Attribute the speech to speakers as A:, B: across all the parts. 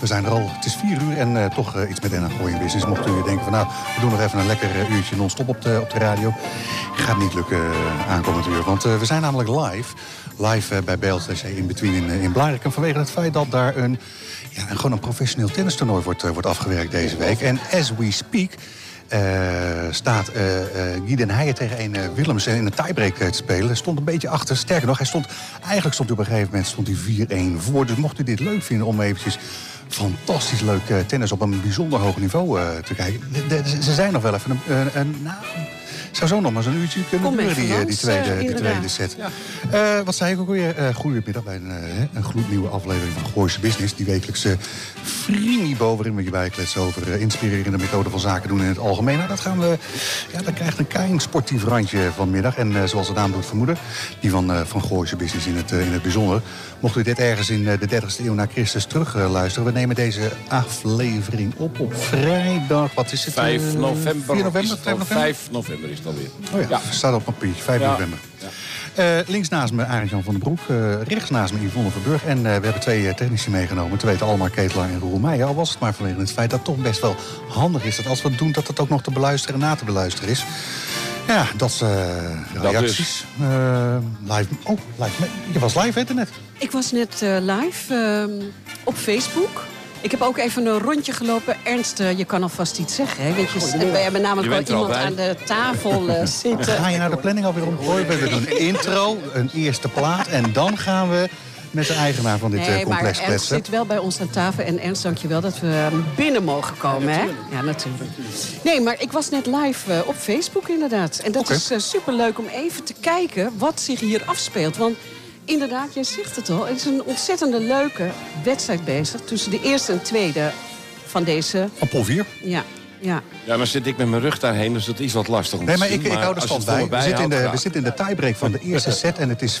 A: We zijn er al. Het is vier uur en eh, toch eh, iets met NH Gooi in Business. Mocht u denken van nou, we doen nog even een lekker eh, uurtje non-stop op de, op de radio. Gaat niet lukken eh, aankomend uur. Want eh, we zijn namelijk live. Live eh, bij BLTC in Between in, eh, in Blarikum. Vanwege het feit dat daar een, ja, een, gewoon een professioneel tennistoernooi wordt, eh, wordt afgewerkt deze week. En as we speak... eh, staat eh eh Guy Den Heijer tegen een eh, Willems in een tiebreak eh, te spelen. Stond een beetje achter. Sterker nog, hij stond, eigenlijk stond hij op een gegeven moment stond hij 4-1 voor. Dus mocht u dit leuk vinden om eventjes fantastisch leuk eh, tennis op een bijzonder hoog niveau eh, te kijken. De- de- ze- ze zijn nog wel even een... een, een- nou, zou zo nog maar zo'n uurtje kunnen
B: Kom
A: duren,
B: even
A: die, eh, die
B: langs,
A: tweede,
B: eh,
A: die tweede
B: inderdaad.
A: set. Eh, wat zei ik ook alweer? Eh goedemiddag bij een, eh, hè, een gloednieuwe aflevering van Gooise Business. Die wekelijkse Frimibo, waarin we je bijkletsen over eh, inspirerende methoden van zaken doen in het algemeen. Nou, dat, gaan we, ja, dat krijgt een klein sportief randje vanmiddag. En eh, zoals de naam doet vermoeden, die van, eh van Gooise Business in het, eh, in het bijzonder. Mocht u dit ergens in eh, de 30ste eeuw na Christus terug eh, luisteren, we nemen deze aflevering op op vrijdag. Wat is het? eh,
C: 5 november.
A: 4
C: is
A: november?
C: het al.
A: 5 november?
C: 5 november is het alweer.
A: Oh ja, staat op papiertje, 5
C: Ja.
A: november. Eh, links naast me Arend-Jan van den Broek, eh, rechts naast me Yvonne Verburg. En eh, we hebben twee eh, technici meegenomen, te weten Almar Ketelaar en Roel Meijer. Al was het maar vanwege het feit dat het toch best wel handig is... dat als we het doen, dat het ook nog te beluisteren en na te beluisteren is. Ja, dat is eh, reacties. Eh, live, oh, live. me- Je was live, hè, net.
B: Ik was net eh, live ehm, op Facebook. Ik heb ook even een rondje gelopen. Ernst, eh, je kan alvast iets zeggen. Hè? Want je, we hebben
C: Je
B: namelijk
C: bent
B: wel
C: er al
B: iemand aan
C: bij.
B: de tafel eh, zitten.
A: Ga je naar de planning alweer omgooien? We doen een intro, een eerste plaat en dan gaan we... Met de eigenaar van dit eh,
B: Nee, maar
A: complex
B: Ernst
A: kletsen.
B: zit wel bij ons aan tafel. En Ernst, dankjewel dat we eh, binnen mogen komen. hè? Ja, natuurlijk. Nee, maar ik was net live eh, op Facebook inderdaad. En dat
A: Oké.
B: is eh, superleuk om even te kijken wat zich hier afspeelt. Want inderdaad, jij zegt het al. Het is een ontzettende leuke wedstrijd bezig. Tussen de eerste en tweede van deze...
A: Van Paul 4.
B: Ja, ja.
C: Ja, maar zit ik met mijn rug daarheen, dus dat is wat lastig om
A: Nee,
C: te
A: maar
C: zien.
A: ik, ik hou er
C: als
A: stand
C: je het
A: bij.
C: voor me
A: We zitten, in de, we
C: bijhoudt,
A: zitten in de tiebreak van de eerste set en het is 5-5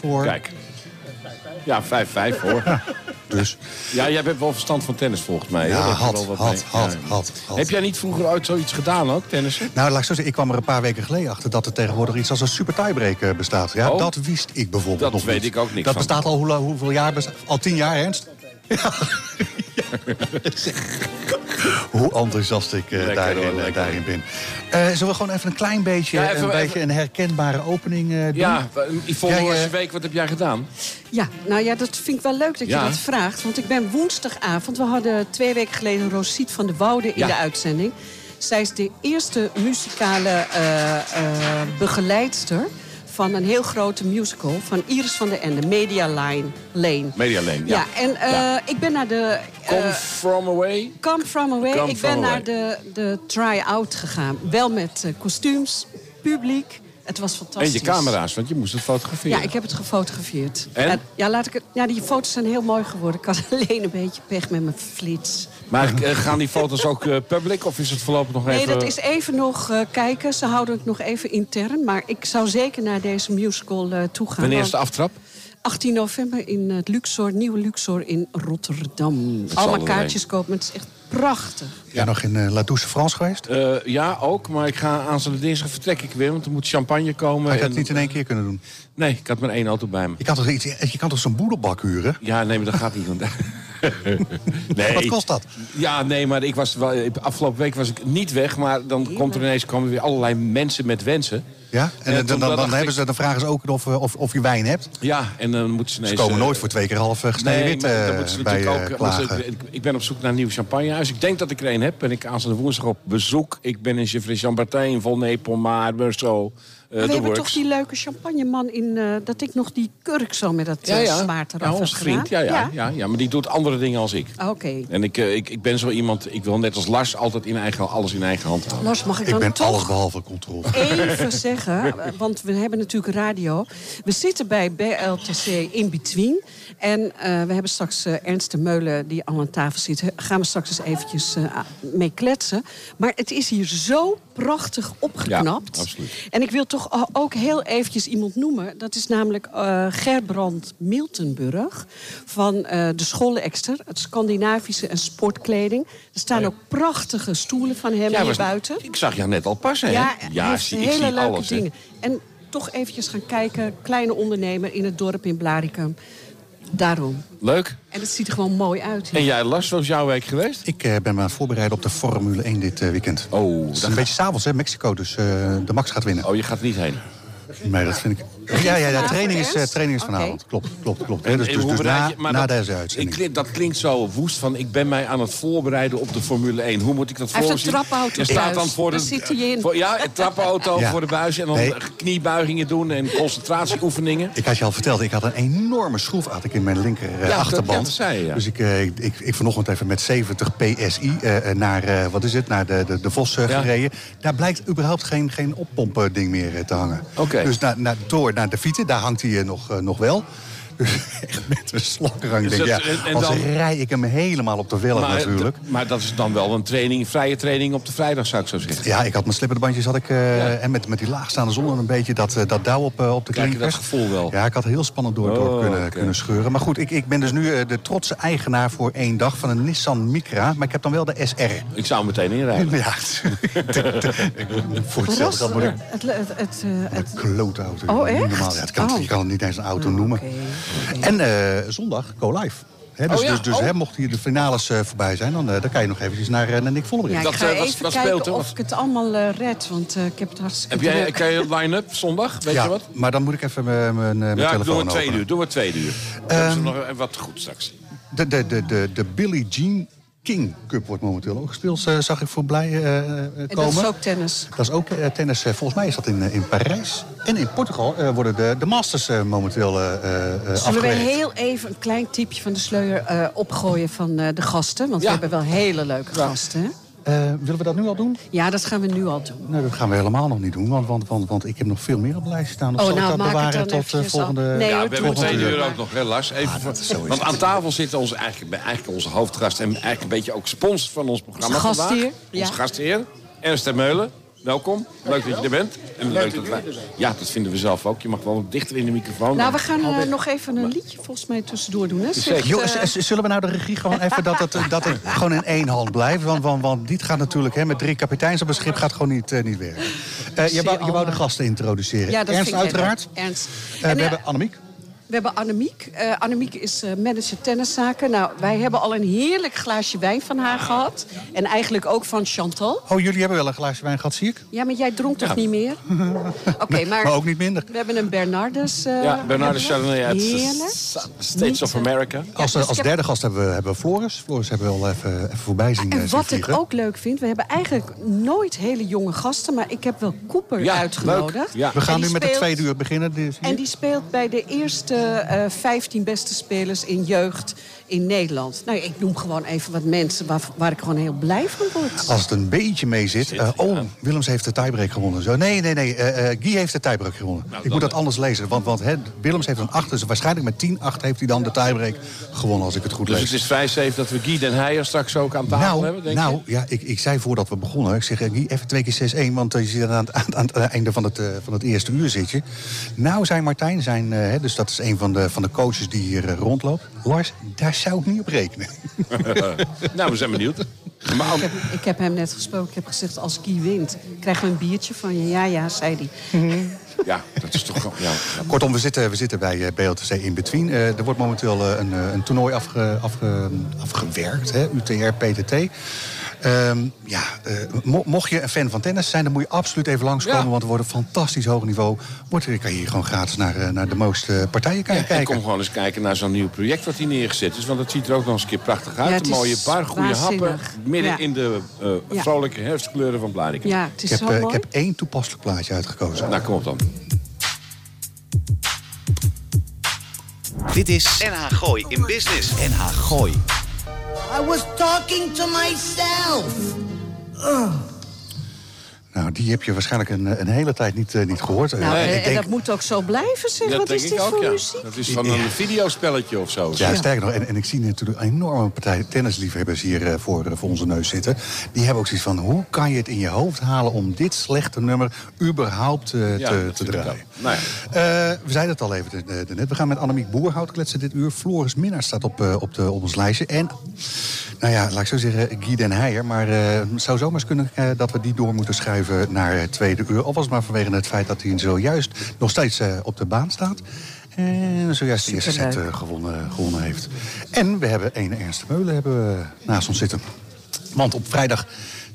A: voor...
C: ja. Kijk. Ja, 5-5 hoor.
A: Dus
C: Ja, jij hebt wel verstand van tennis volgens mij.
A: ja,
C: hoor. Dat je
A: had,
C: wel wat
A: had,
C: mee-
A: had,
C: Ja.
A: had, had.
C: Heb jij niet vroeger ooit zoiets gedaan ook, tennissen?
A: Nou, laat ik zo zeggen, ik kwam er een paar weken geleden achter dat er tegenwoordig iets als een super tiebreak eh, bestaat. Ja,
C: Oh.
A: dat wist ik bijvoorbeeld
C: Dat
A: nog
C: weet
A: niet.
C: ik ook niks
A: Dat
C: van.
A: bestaat al hoe, la- hoeveel jaar? besta- al tien jaar, Ernst? Ja. Ja. Hoe enthousiast ik eh,
C: Lekker
A: daarin,
C: hoor,
A: eh,
C: lekker.
A: daarin ben. Eh, zullen we gewoon even een klein beetje,
C: Ja, even-
A: een,
C: even-
A: beetje een herkenbare opening eh, doen?
C: Ja, Yvonne,
A: Jij, eh,
C: deze week, wat heb jij gedaan?
B: Ja, nou ja, dat vind ik wel leuk dat
C: Ja.
B: je dat vraagt. Want ik ben woensdagavond, we hadden twee weken geleden Rosiet van de Woude in
C: Ja.
B: de uitzending. Zij is de eerste muzikale eh, eh, begeleidster van een heel grote musical van Iris van der Ende, Media Line, Lane.
C: Media Lane, ja.
B: en eh,
C: Ja.
B: ik ben naar de... eh,
C: Come from away.
B: Come From Away.
C: Come
B: ik
C: From
B: ben
C: Away.
B: naar de, de try-out gegaan. Wel met eh, kostuums, publiek. Het was
C: En
B: fantastisch.
C: je camera's, want je moest het fotograferen.
B: Ja, ik heb het gefotografeerd.
C: En?
B: Ja, Ja, laat ik het, ja, die foto's zijn heel mooi geworden. Ik had alleen een beetje pech met mijn flits.
C: Maar eh, gaan die foto's ook eh, public of is het voorlopig nog
B: Nee,
C: even...
B: dat is even nog eh, kijken. Ze houden het nog even intern. Maar ik zou zeker naar deze musical eh, toe gaan.
C: Wanneer is de
B: want
C: aftrap?
B: 18 november in het Luxor, nieuwe Luxor in Rotterdam.
C: zal er
B: Allemaal
C: zijn.
B: kaartjes kopen. Het is echt prachtig.
A: Ja, nog in eh, La Douce France geweest?
C: Eh, ja, ook. Maar ik ga aanstaande dinsdag vertrek ik weer. Want er moet champagne komen.
A: Maar je
C: en-
A: had het niet in één keer kunnen doen.
C: Nee, ik had maar één auto bij me.
A: Je kan toch, iets, je kan toch zo'n boedelbak huren?
C: Ja, nee, maar dat gaat niet. Want... nee.
A: Wat kost dat?
C: Ja, nee, maar ik was wel, afgelopen week was ik niet weg. Maar dan komt er ineens komen weer allerlei mensen met wensen.
A: Ja? En,
C: toen
A: dan, dan, dan,
C: dacht
A: hebben
C: ik-
A: ze, dan vragen ze ook of, eh, of, of je wijn hebt.
C: Ja, en dan moeten ze
A: Ze
C: ineens...
A: komen
C: eh,
A: nooit voor twee keer half eh, gesneden
C: Nee,
A: wit
C: maar dan
A: eh,
C: moeten ze
A: bij
C: natuurlijk
A: eh,
C: ook... want ze-
A: klagen.
C: ik, ik ben op zoek naar een nieuw champagnehuis. Ik denk dat ik er een heb. En ik aanstaande woensdag op bezoek. Ik ben in Gevrey Chambertin, Volney, Pomar, Meursault, eh,
B: we
C: de
B: hebben
C: works.
B: toch die leuke champagneman in... eh, dat ik nog die kurk zo met dat eh, zwaard eraf
C: ja,
B: heb
C: ons vriend. Ja
B: gedaan.
C: ja, ja. ja, maar die doet andere dingen als ik.
B: Ah, Oké.
C: En ik, eh, ik, ik ben zo iemand, ik wil net als Lars altijd in eigen, alles in eigen hand houden.
B: Lars, mag ik,
A: Ik
B: dan
A: ben
B: toch
A: alles behalve controle.
B: even zeggen, eh, want we hebben natuurlijk radio. We zitten bij BLTC In Between. En eh, we hebben straks eh, Ernst de Meulen, die al aan tafel zit. Daar gaan we straks eens eventjes eh, a- mee kletsen. Maar het is hier zo prachtig opgeknapt.
C: Ja, absoluut.
B: En ik wil toch o- ook heel eventjes iemand noemen. Dat is namelijk eh, Gerbrand Miltenburg van eh, de Scholle Exter. Het Scandinavische en sportkleding. Er staan ook prachtige stoelen van hem
C: Ja,
B: hier
C: was-
B: buiten.
C: Ik zag jou net al passen,
B: Ja,
C: hè?
B: hij heeft
C: zie-
B: hele leuke
C: hè.
B: dingen. En toch eventjes gaan kijken. Kleine ondernemer in het dorp in Blaricum. Daarom.
C: Leuk.
B: En het ziet er gewoon mooi uit. hier.
C: En jij, Lars, was jouw week geweest?
A: Ik eh, ben me aan het voorbereiden op de Formule 1 dit eh, weekend.
C: Oh,
A: het is
C: dan
A: een beetje s'avonds, hè, Mexico. Dus eh, de Max gaat winnen.
C: Oh, je gaat er niet heen.
A: Nee, dat vind ik... Ja, ja, ja
B: vanavond
A: training, is, eh,
B: eerst?
A: training is
B: Oké.
A: vanavond. Klopt, klopt, klopt. Hè, dus
C: En
A: dus,
C: hoe
A: dus
C: bereid
A: na,
C: je- maar
A: na
C: dat-
A: deze uitzending.
C: ik klink- dat klinkt zo woest van ik ben mij aan het voorbereiden op de Formule 1. Hoe moet ik dat
B: Hij heeft een
C: voorzien?
B: trapauto
C: Je staat
B: thuis.
C: dan voor
B: Daar
C: de,
B: zit hij in.
C: Voor, ja, een trapauto
A: Ja.
C: voor de buis en dan
A: Nee.
C: kniebuigingen doen en concentratieoefeningen.
A: Ik had je al verteld, ik had een enorme schroef had ik in mijn linker eh,
C: dat-
A: achterband.
C: ja, dat zei je, ja.
A: Dus ik, eh, ik, ik, ik vanochtend even met 70 PSI eh, eh, naar, eh, wat is het, naar de, de, de Vos eh,
C: Ja.
A: gereden. Daar blijkt überhaupt geen, geen oppompen ding meer eh, te hangen.
C: Oké.
A: Dus na, na, door naar de fietsen, daar hangt hij eh, nog, eh, nog wel. Dus echt met een slangrang.
C: Dus
A: Denk, ik, ja,
C: dat- en- en
A: anders
C: dan-
A: rij ik hem helemaal op de velg natuurlijk.
C: d- maar dat is dan wel een training, vrije training op de vrijdag, zou ik zo zeggen.
A: Ja, ik had mijn slipperbandjes had ik, eh,
C: Ja.
A: en met, met die laagstaande zon en een beetje dat, eh, dat dauw op, eh, op de
C: Krijg je
A: klinkers.
C: dat gevoel wel?
A: Ja, ik had heel spannend door, door
C: Oh,
A: kunnen,
C: oké.
A: kunnen scheuren. Maar goed, ik, ik ben dus nu eh, de trotse eigenaar voor één dag van een Nissan Micra. Maar ik heb dan wel de SR.
C: Ik zou hem meteen inrijden.
A: Ja, ik moet- voor
B: Maar
A: hetzelfde geld
B: dat-
A: moet ik
B: het, het, het, eh, het-
A: een klote auto.
B: Oh,
A: Niet
B: echt?
A: Normaal. Ja, het kan,
B: Oh.
A: Je kan het niet eens een auto
B: Oh,
A: noemen.
B: oké.
A: En eh, zondag, go live. Hè, dus
C: Oh, ja.
A: dus, dus
C: Oh.
A: hè, mocht hier de finales eh, voorbij zijn, dan, eh, dan kan je nog eventjes naar, eh, naar Nick
B: ja,
A: Vollering.
B: ik
C: Dat,
B: ga
C: eh, wat-
B: even
C: wat
B: kijken
C: speelt er?
B: of
C: Wat-
B: ik het allemaal eh, red. Want eh, ik heb het hartstikke
C: Heb jij,
B: druk.
C: kan je een line-up zondag? Weet je wat?
A: Maar dan moet ik even mijn, mijn, eh, mijn
C: Ja,
A: telefoon Ehm,
C: ik doe het twee
A: openen.
C: uur. Doe het twee uur. Dan is er nog een- wat goed straks.
A: De, de, de, de, de Billie Jean King Cup wordt momenteel ook gespeeld, eh, zag ik voorbij eh, eh, komen.
B: En dat is ook tennis.
A: Dat is ook, eh, tennis. eh, volgens mij is dat in, eh, in Parijs. En in Portugal eh, worden de, de Masters eh, momenteel eh, eh, eh,
B: Zullen we
A: afgewerkt.
B: heel even een klein tipje van de sleur eh, opgooien van eh, de gasten? Want
C: Ja.
B: we hebben wel hele leuke gasten. hè?
A: Eh, willen we dat nu al doen?
B: Ja, dat gaan we nu al doen.
A: Nee, dat gaan we helemaal nog niet doen, want, want, want, want ik heb nog veel meer op de lijst staan. Of
B: Oh,
A: zal
B: nou,
A: ik dat
B: maak het
A: bewaren
B: dan
A: tot eh,
B: eventjes af.
A: volgende...
B: Nee,
C: Ja,
B: hoor,
C: we hebben
B: volgende
C: twee
A: uur.
C: uur ook nog, hè, Lars? Even voor-
A: Ah, dat is zo is
C: want
A: het.
C: aan tafel zitten onze, eigenlijk, eigenlijk onze hoofdgast... en eigenlijk een beetje ook sponsor van ons programma
B: Onze gastheer,
C: vandaag.
B: ja.
C: Onze gastheer, Ernst ter Meulen. Welkom, leuk dat je er bent. En leuk dat wij... Ja, dat vinden we zelf ook. Je mag wel dichter in de microfoon.
B: Nou, we gaan eh, nog even een liedje volgens mij tussendoor doen. Hè? Zegt,
A: Joh,
B: eh,
A: z- z- zullen we nou de regie gewoon even dat het, eh, dat het gewoon in één hand blijft? Want, want, want dit gaat natuurlijk hè, met drie kapiteins op een schip gaat gewoon niet, eh, niet werken. Eh, je,
B: zie
A: wou, je wou de
B: allemaal.
A: gasten introduceren.
B: ja, dat
A: Ernst
B: vind ik lekker.
A: uiteraard.
B: Ernst.
A: Eh,
B: En,
A: we
B: eh,
A: hebben Annemiek.
B: we hebben Annemiek. Eh, Annemiek is eh, manager tenniszaken. Nou, wij hebben al een heerlijk glaasje wijn van haar gehad. En eigenlijk ook van Chantal.
A: Oh, jullie hebben wel een glaasje wijn gehad, zie ik.
B: Ja, maar jij dronk toch niet meer? Oké, maar,
A: maar ook niet minder.
B: We hebben een Bernardus. eh,
C: Ja, Bernardo
B: hebben we.
C: Chardonnay uit
B: Heerlijk.
C: S- States of
B: Niet, eh,
C: America.
A: Als,
B: dus ik
A: als
B: heb-
A: derde gast hebben we, hebben we Floris. Floris hebben we al even, even voorbij zien, eh,
B: En
A: zien
B: wat ik
A: vliegen.
B: ook leuk vind, we hebben eigenlijk nooit hele jonge gasten, maar ik heb wel Cooper
C: Ja,
B: uitgenodigd.
C: leuk. Ja.
A: We
B: En
A: gaan
B: die
A: nu met de
B: speelt-
A: tweede uur beginnen. dus die is hier.
B: En die speelt bij de eerste eh 15 beste spelers in jeugd in Nederland. Nou, ik noem gewoon even wat mensen waar, waar ik gewoon heel blij van word.
A: Als het een beetje mee zit. eh, oh, Willems heeft de tiebreak gewonnen. Zo. Nee, nee, nee. eh, eh, Guy heeft de tiebreak gewonnen.
C: Nou,
A: ik moet dat anders lezen. Want, want hè, Willems heeft een 8. Dus waarschijnlijk met 10-8 heeft hij dan de tiebreak gewonnen. Als ik het goed
C: Dus
A: lees.
C: het is vrij safe dat we Guy Den Heijer straks ook aan tafel hebben,
A: Nou,
C: denk
A: nou
C: je?
A: ja, ik, ik zei voordat we begonnen. Ik zeg, eh, Guy, even twee keer 6-1. Want eh, je zit aan het, aan, het- aan het einde van het, eh, van het eerste uur zit je. Nou, zijn Martijn, zijn, eh, hè, dus dat is een van de, van de coaches die hier eh, rondloopt. Lars, daar zou ik niet op rekenen.
C: Nou, we zijn benieuwd. Maar ook-
B: Ik heb hem net gesproken, ik heb gezegd als Guy wint, krijgen we een biertje van je. Ja, ja, zei hij.
C: ja, dat is toch... wel- Ja, ja.
A: Kortom, we zitten, we zitten bij eh, BLTC In Between. Eh, er wordt momenteel eh, een, eh, een toernooi afge, afge, afgewerkt, hè, UTR-PTT. Ehm, ja, eh, mo- mocht je een fan van tennis zijn, dan moet je absoluut even langskomen.
C: Ja.
A: Want er wordt een fantastisch hoog niveau. Wordt er, kan je hier gewoon gratis naar, eh, naar de mooiste eh, partijen kan je
C: Ik
A: kijken.
C: kom gewoon eens kijken naar zo'n nieuw project wat hier neergezet is. Want dat ziet er ook nog eens een keer prachtig uit.
B: Ja, het
C: een mooie
B: is
C: bar, goede happen.
B: waanzinnig.
C: Midden
B: Ja.
C: in de eh,
B: Ja.
C: vrolijke herfstkleuren van Blariken.
B: Ja, het is
A: Ik heb,
B: zo
A: eh,
B: mooi.
A: ik heb één toepasselijk plaatje uitgekozen.
C: Nou, kom op dan.
D: Dit is NH Gooi in Business. NH Gooi.
E: I was talking to myself.
A: Nou, die heb je waarschijnlijk een, eh, een hele tijd niet, eh, niet gehoord. Eh,
B: Nou,
A: ik
B: en- en
A: denk-
B: dat moet ook zo blijven, zeg. Wat is dit voor muziek?
C: Dat is van een videospelletje of zo.
A: Ja, sterker nog, en, en ik zie natuurlijk een enorme partij tennisliefhebbers hier eh, voor, eh, voor onze neus zitten. Die hebben ook zoiets van, hoe kan je het in je hoofd halen om dit slechte nummer überhaupt eh,
C: Ja,
A: te,
C: dat
A: te
C: vind ik
A: draaien?
C: ook. Nou
A: Eh, we zeiden het al even eh, net. We gaan met Annemiek Boerhout kletsen dit uur. Floris Minnaar staat op, eh, op, de, op ons lijstje. En, nou ja, laat ik zo zeggen, Guy Den Heijer. Maar eh, het zou zomaar eens kunnen eh, dat we die door moeten schuiven naar het tweede uur. Al was het maar vanwege het feit dat hij zojuist nog steeds eh, op de baan staat. En zojuist de eerste set
B: Superleuk.
A: eh, gewonnen, gewonnen heeft. En we hebben een Ernst de Meulen hebben we naast ons zitten. Want op vrijdag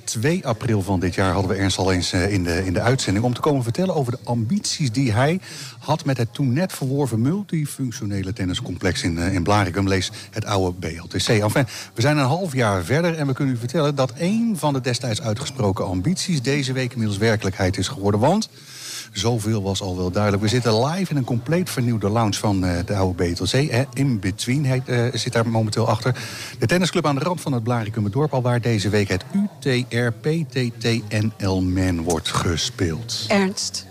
A: 2 april van dit jaar hadden we Ernst al eens eh, in de, in de uitzending... om te komen vertellen over de ambities die hij had... met het toen net verworven multifunctionele tenniscomplex in, eh, in Blaricum. Lees het oude BLTC. Enfin, we zijn een half jaar verder en we kunnen u vertellen... dat een van de destijds uitgesproken ambities... deze week inmiddels werkelijkheid is geworden. Want Zoveel was al wel duidelijk. We zitten live in een compleet vernieuwde lounge van eh, de oude BTLC. Hè. In Between heet, eh, zit daar momenteel achter. De tennisclub aan de rand van het Blaricumerdorp... al waar deze week het UTRPTTNL Man wordt gespeeld.
B: Ernst.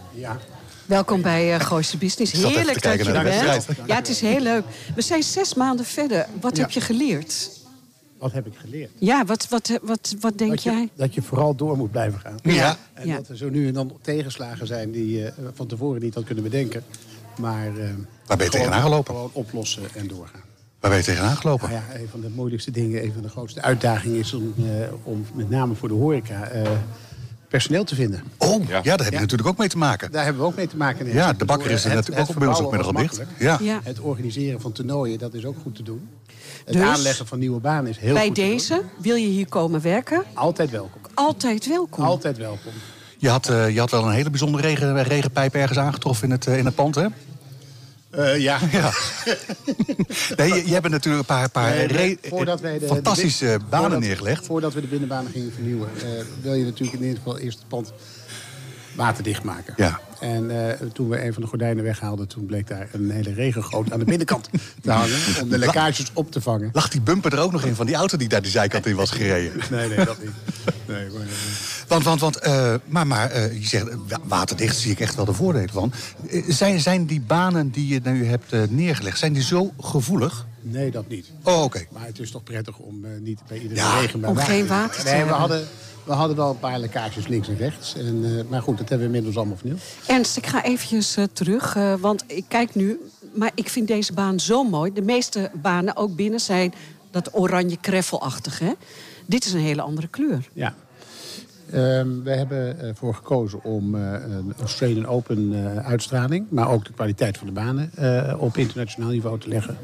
B: Welkom bij eh Gooise Business.
A: zat even te
B: Heerlijk dat
A: kijken
B: je er
A: naar de
B: bent.
A: wedstrijd.
B: Ja, het is heel leuk. We zijn zes maanden verder. Wat
F: Ja.
B: heb je geleerd?
F: Wat heb ik geleerd?
B: Ja, wat, wat, wat, wat denk
F: dat, je,
B: jij?
F: dat je vooral door moet blijven gaan.
A: Ja.
F: En
B: Ja.
F: dat er zo nu en dan tegenslagen zijn die je eh, van tevoren niet had kunnen bedenken. Maar eh,
A: Waar ben je
F: gewoon-
A: tegenaan gelopen?
F: Gewoon oplossen en doorgaan.
A: Waar ben je tegenaan gelopen?
F: Nou ja, een van de moeilijkste dingen, een van de grootste uitdagingen is om, eh, om met name voor de horeca eh, personeel te vinden.
A: Oh, ja,
C: Ja.
A: daar heb je
F: Ja.
A: natuurlijk ook mee te maken.
F: Daar hebben we ook mee te maken.
A: Ja, de bakker is er
F: Het-
A: natuurlijk
F: het
A: ook bij ons ook
F: verbouwen
A: middag
F: was
A: op dicht.
F: makkelijk.
A: Ja.
B: Ja.
F: Het organiseren van toernooien, dat is ook goed te doen. Het
B: Dus,
F: aanleggen van nieuwe banen is heel
B: Bij
F: goed te doen.
B: deze wil je hier komen werken?
F: Altijd welkom.
B: Altijd welkom.
F: Altijd welkom.
A: Je, had, eh, je had wel een hele bijzondere regen, regenpijp ergens aangetroffen in het, eh, in het pand, hè?
F: Eh, ja.
A: Ja. nee, je, je hebt natuurlijk een paar, paar
F: Nee,
A: re-
F: Eh, voordat wij de,
A: fantastische
F: de bin-
A: eh, banen
F: voordat-
A: neergelegd.
F: Voordat we de binnenbanen gingen vernieuwen, eh, wil je natuurlijk in ieder geval eerst het pand waterdicht maken.
A: Ja.
F: En eh, toen we een van de gordijnen weghaalden, toen bleek daar een hele regengoot aan de binnenkant te hangen. Om de lekkages op te vangen.
A: Lag die bumper er ook nog in van die auto die daar de zijkant in was gereden?
F: Nee, nee, dat niet. Nee, maar, eh,
A: Want, want, want eh, maar, maar eh, je zegt eh, wa- waterdicht zie ik echt wel de voordelen van. Eh, zijn, zijn die banen die je nu hebt eh, neergelegd, zijn die zo gevoelig?
F: nee, dat niet.
A: Oh, oké.
F: Maar het is toch prettig om eh, niet bij iedere
A: Ja,
F: regen bij
B: om
F: water
B: geen
F: te zijn.
B: water te
F: nee, we
B: hebben.
F: hadden, we hadden wel een paar lekkages links en rechts. En, eh, maar goed, dat hebben we inmiddels allemaal vernieuwd.
B: Ernst, ik ga eventjes eh, terug, eh, want ik kijk nu. Maar ik vind deze baan zo mooi. De meeste banen, ook binnen, zijn dat oranje kreffelachtige. Dit is een hele andere kleur.
F: Ja. Ehm, we hebben ervoor gekozen om eh, een Australian Open eh, uitstraling, maar ook de kwaliteit van de banen eh, op internationaal niveau te leggen.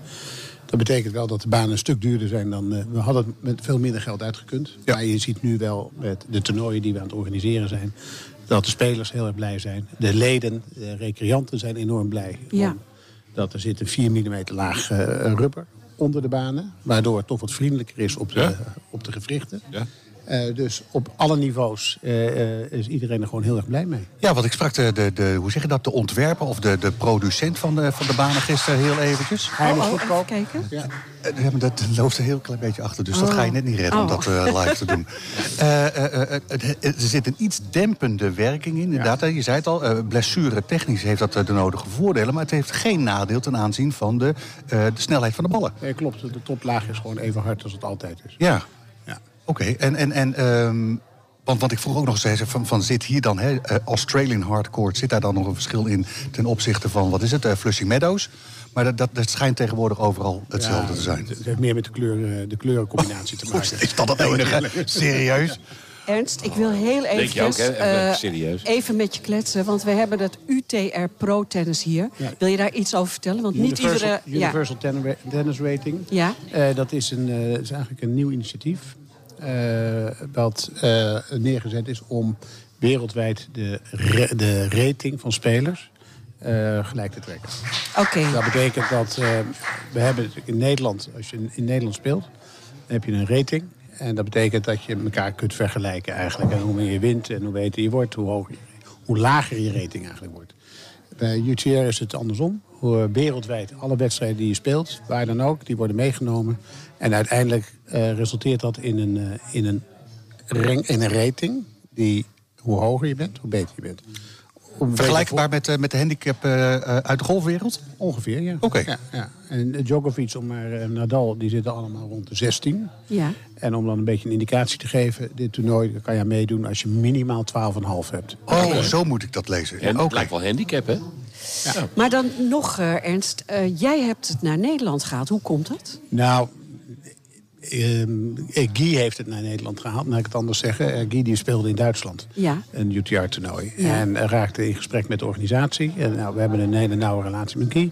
F: Dat betekent wel dat de banen een stuk duurder zijn dan. eh, we hadden het met veel minder geld uitgekund.
A: Ja.
F: Maar je ziet nu wel met de toernooien die we aan het organiseren zijn, dat de spelers heel erg blij zijn. De leden, de recreanten zijn enorm blij.
B: Ja.
F: om- dat er zit een 4 mm laag eh, rubber onder de banen. Waardoor het toch wat vriendelijker is op de,
C: Ja.
F: op de gewrichten.
C: Ja.
F: Eh, dus op alle niveaus eh, eh, is iedereen er gewoon heel erg blij mee.
A: Ja, want ik sprak de, de, de, hoe zeg je dat, de ontwerper of de, de producent van de, van de banen gisteren heel eventjes.
F: Hij was
B: oh, even
F: goedkoop.
B: kijken.
F: Ja.
A: Eh, ja, maar dat loopt er een heel klein beetje achter, dus dat
B: Oh.
A: ga je net niet redden om
B: Oh.
A: dat eh, live te doen. Eh, eh, eh, eh, het- het- er zit een iets dempende werking in, inderdaad. hè. Je zei het al, eh, blessure technisch heeft dat eh, de nodige voordelen... maar het heeft geen nadeel ten aanzien van de, eh, de snelheid van de ballen.
F: Eh, klopt, de toplaag is gewoon even hard als het altijd is.
A: Ja,
F: Ja.
A: oké. En, en, en ehm, want, want ik vroeg ook nog eens van, van zit hier dan, hè, eh, Australian hardcore... zit daar dan nog een verschil in ten opzichte van, wat is het, eh, Flushing Meadows? Maar dat, dat, dat schijnt tegenwoordig overal hetzelfde te zijn.
F: Het het heeft meer met de, kleur, eh, de kleurencombinatie te maken.
A: Is dat het enige? Serieus?
B: Ernst, ik wil heel
C: Denk je ook,
B: eventjes,
C: hè? Even
B: eh,
C: serieus.
B: even met je kletsen. Want we hebben dat UTR Pro Tennis hier.
F: Ja.
B: Wil je daar iets over vertellen? Want niet
F: Universal,
B: iedere... ja.
F: Universal Tennis Rating.
B: Ja.
F: Eh, dat is, een, eh, is eigenlijk een nieuw initiatief. eh, wat eh, neergezet is om wereldwijd de, ra- de rating van spelers eh, gelijk te trekken.
B: Oké.
F: Dat betekent dat eh, we hebben natuurlijk in Nederland, als je in, in Nederland speelt, dan heb je een rating. En dat betekent dat je elkaar kunt vergelijken eigenlijk. En hoe meer je wint en hoe beter je wordt, hoe, hoger, je- hoe lager je rating eigenlijk wordt. Bij UTR is het andersom. Hoe eh, Wereldwijd, alle wedstrijden die je speelt, waar dan ook, die worden meegenomen. En uiteindelijk eh, resulteert dat in een, eh, in, een rank- in een rating. Die, hoe hoger je bent, hoe beter je bent. Om-
A: Vergelijkbaar met, eh, met de handicap eh, eh, uit de golfwereld?
F: Ongeveer, ja.
A: Oké.
F: Ja, ja. En eh, Djokovic om maar eh, Nadal, die zitten allemaal rond de 16.
B: Ja.
F: En om dan een beetje een indicatie te geven, dit toernooi kan je aan meedoen als je minimaal 12,5 hebt.
A: Oh, zo moet ik dat lezen.
C: En
A: Oké.
C: dat lijkt wel handicap, hè?
B: Maar dan nog, eh, Ernst. eh, jij hebt het naar Nederland gehaald. Hoe komt dat?
F: Nou, ehm, eh, Guy heeft het naar Nederland gehaald, laat ik het anders zeggen. Eh, Guy die speelde in Duitsland
B: Ja.
F: een UTR-toernooi.
B: Ja.
F: En eh, raakte in gesprek met de organisatie. En nou, we hebben een hele nauwe relatie met Guy.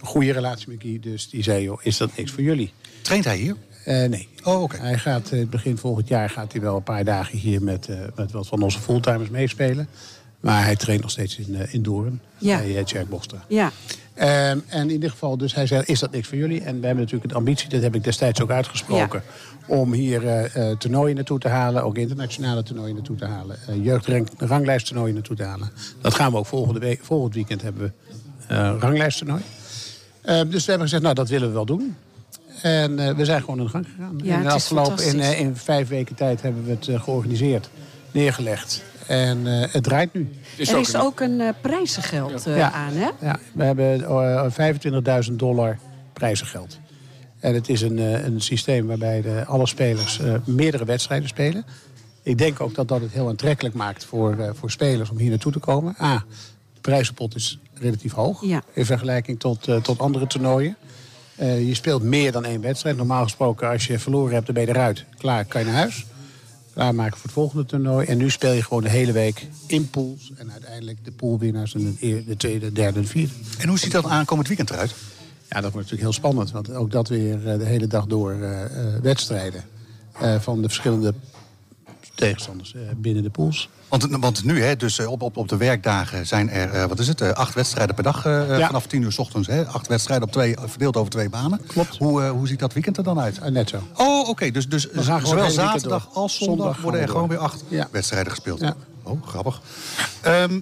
F: Een goede relatie met Guy, dus die zei, joh, is dat niks voor jullie?
A: Traint hij hier?
F: Eh, nee.
A: Oh, oké.
F: Hij gaat eh, begin volgend jaar gaat hij wel een paar dagen hier met, eh, met wat van onze fulltimers meespelen. Maar hij traint nog steeds in, eh in Doorn.
B: Ja.
F: Bij eh, Jack Boster.
B: Ja.
F: Ehm, en in ieder geval, dus hij zei, is dat niks voor jullie? En we hebben natuurlijk de ambitie, dat heb ik destijds ook uitgesproken... om hier eh, eh, toernooien naartoe te halen, ook internationale toernooien naartoe te halen... eh jeugdranglijsttoernooien naartoe te halen. Dat gaan we ook volgende week, volgend weekend hebben we eh ranglijsttoernooi. Eh, dus we hebben gezegd, nou, dat willen we wel doen. En eh, we zijn gewoon aan de gang gegaan.
B: Ja,
F: en
B: het
F: de
B: is
F: afgelopen, in,
B: fantastisch.
F: eh, in vijf weken tijd hebben we het eh, georganiseerd, neergelegd. En eh, het draait nu.
C: Is
B: er
C: ook
B: is
C: een-
B: ook een eh, prijzengeld eh, aan, hè?
F: Ja, we hebben eh, 25.000 dollar prijzengeld. En het is een, eh, een systeem waarbij de, alle spelers eh, meerdere wedstrijden spelen. Ik denk ook dat dat het heel aantrekkelijk maakt voor, eh, voor spelers om hier naartoe te komen. A, de prijzenpot is relatief hoog
B: Ja.
F: in vergelijking tot, eh, tot andere toernooien. Eh, je speelt meer dan één wedstrijd. Normaal gesproken, als je verloren hebt, dan ben je eruit. Klaar, kan je naar huis. Klaarmaken voor het volgende toernooi. En nu speel je gewoon de hele week in pools. En uiteindelijk de poolwinnaars en de, eer- de tweede, derde en vierde.
A: En hoe ziet dat aankomend weekend eruit?
F: Ja, dat wordt natuurlijk heel spannend. Want ook dat weer eh, de hele dag door eh, eh, wedstrijden eh, van de verschillende tegenstanders eh, binnen de pools.
A: Want, want nu, hè, dus eh, op, op, op de werkdagen zijn er, eh, wat is het, eh, acht wedstrijden per dag eh, eh,
F: Ja.
A: vanaf tien uur s ochtends. Hè? Acht wedstrijden op twee, verdeeld over twee banen.
F: Klopt.
A: Hoe, eh, hoe ziet dat weekend er dan uit?
F: Ah, net zo.
A: Oh, oké. Dus, dus
F: gaan gewoon
A: zowel
F: het hele weekend
A: zaterdag
F: door.
A: als zondag,
F: Zondag
A: worden er
F: gaan
A: gewoon
F: we
A: weer acht
F: Ja.
A: wedstrijden gespeeld.
F: Ja.
A: Oh, grappig. Ehm,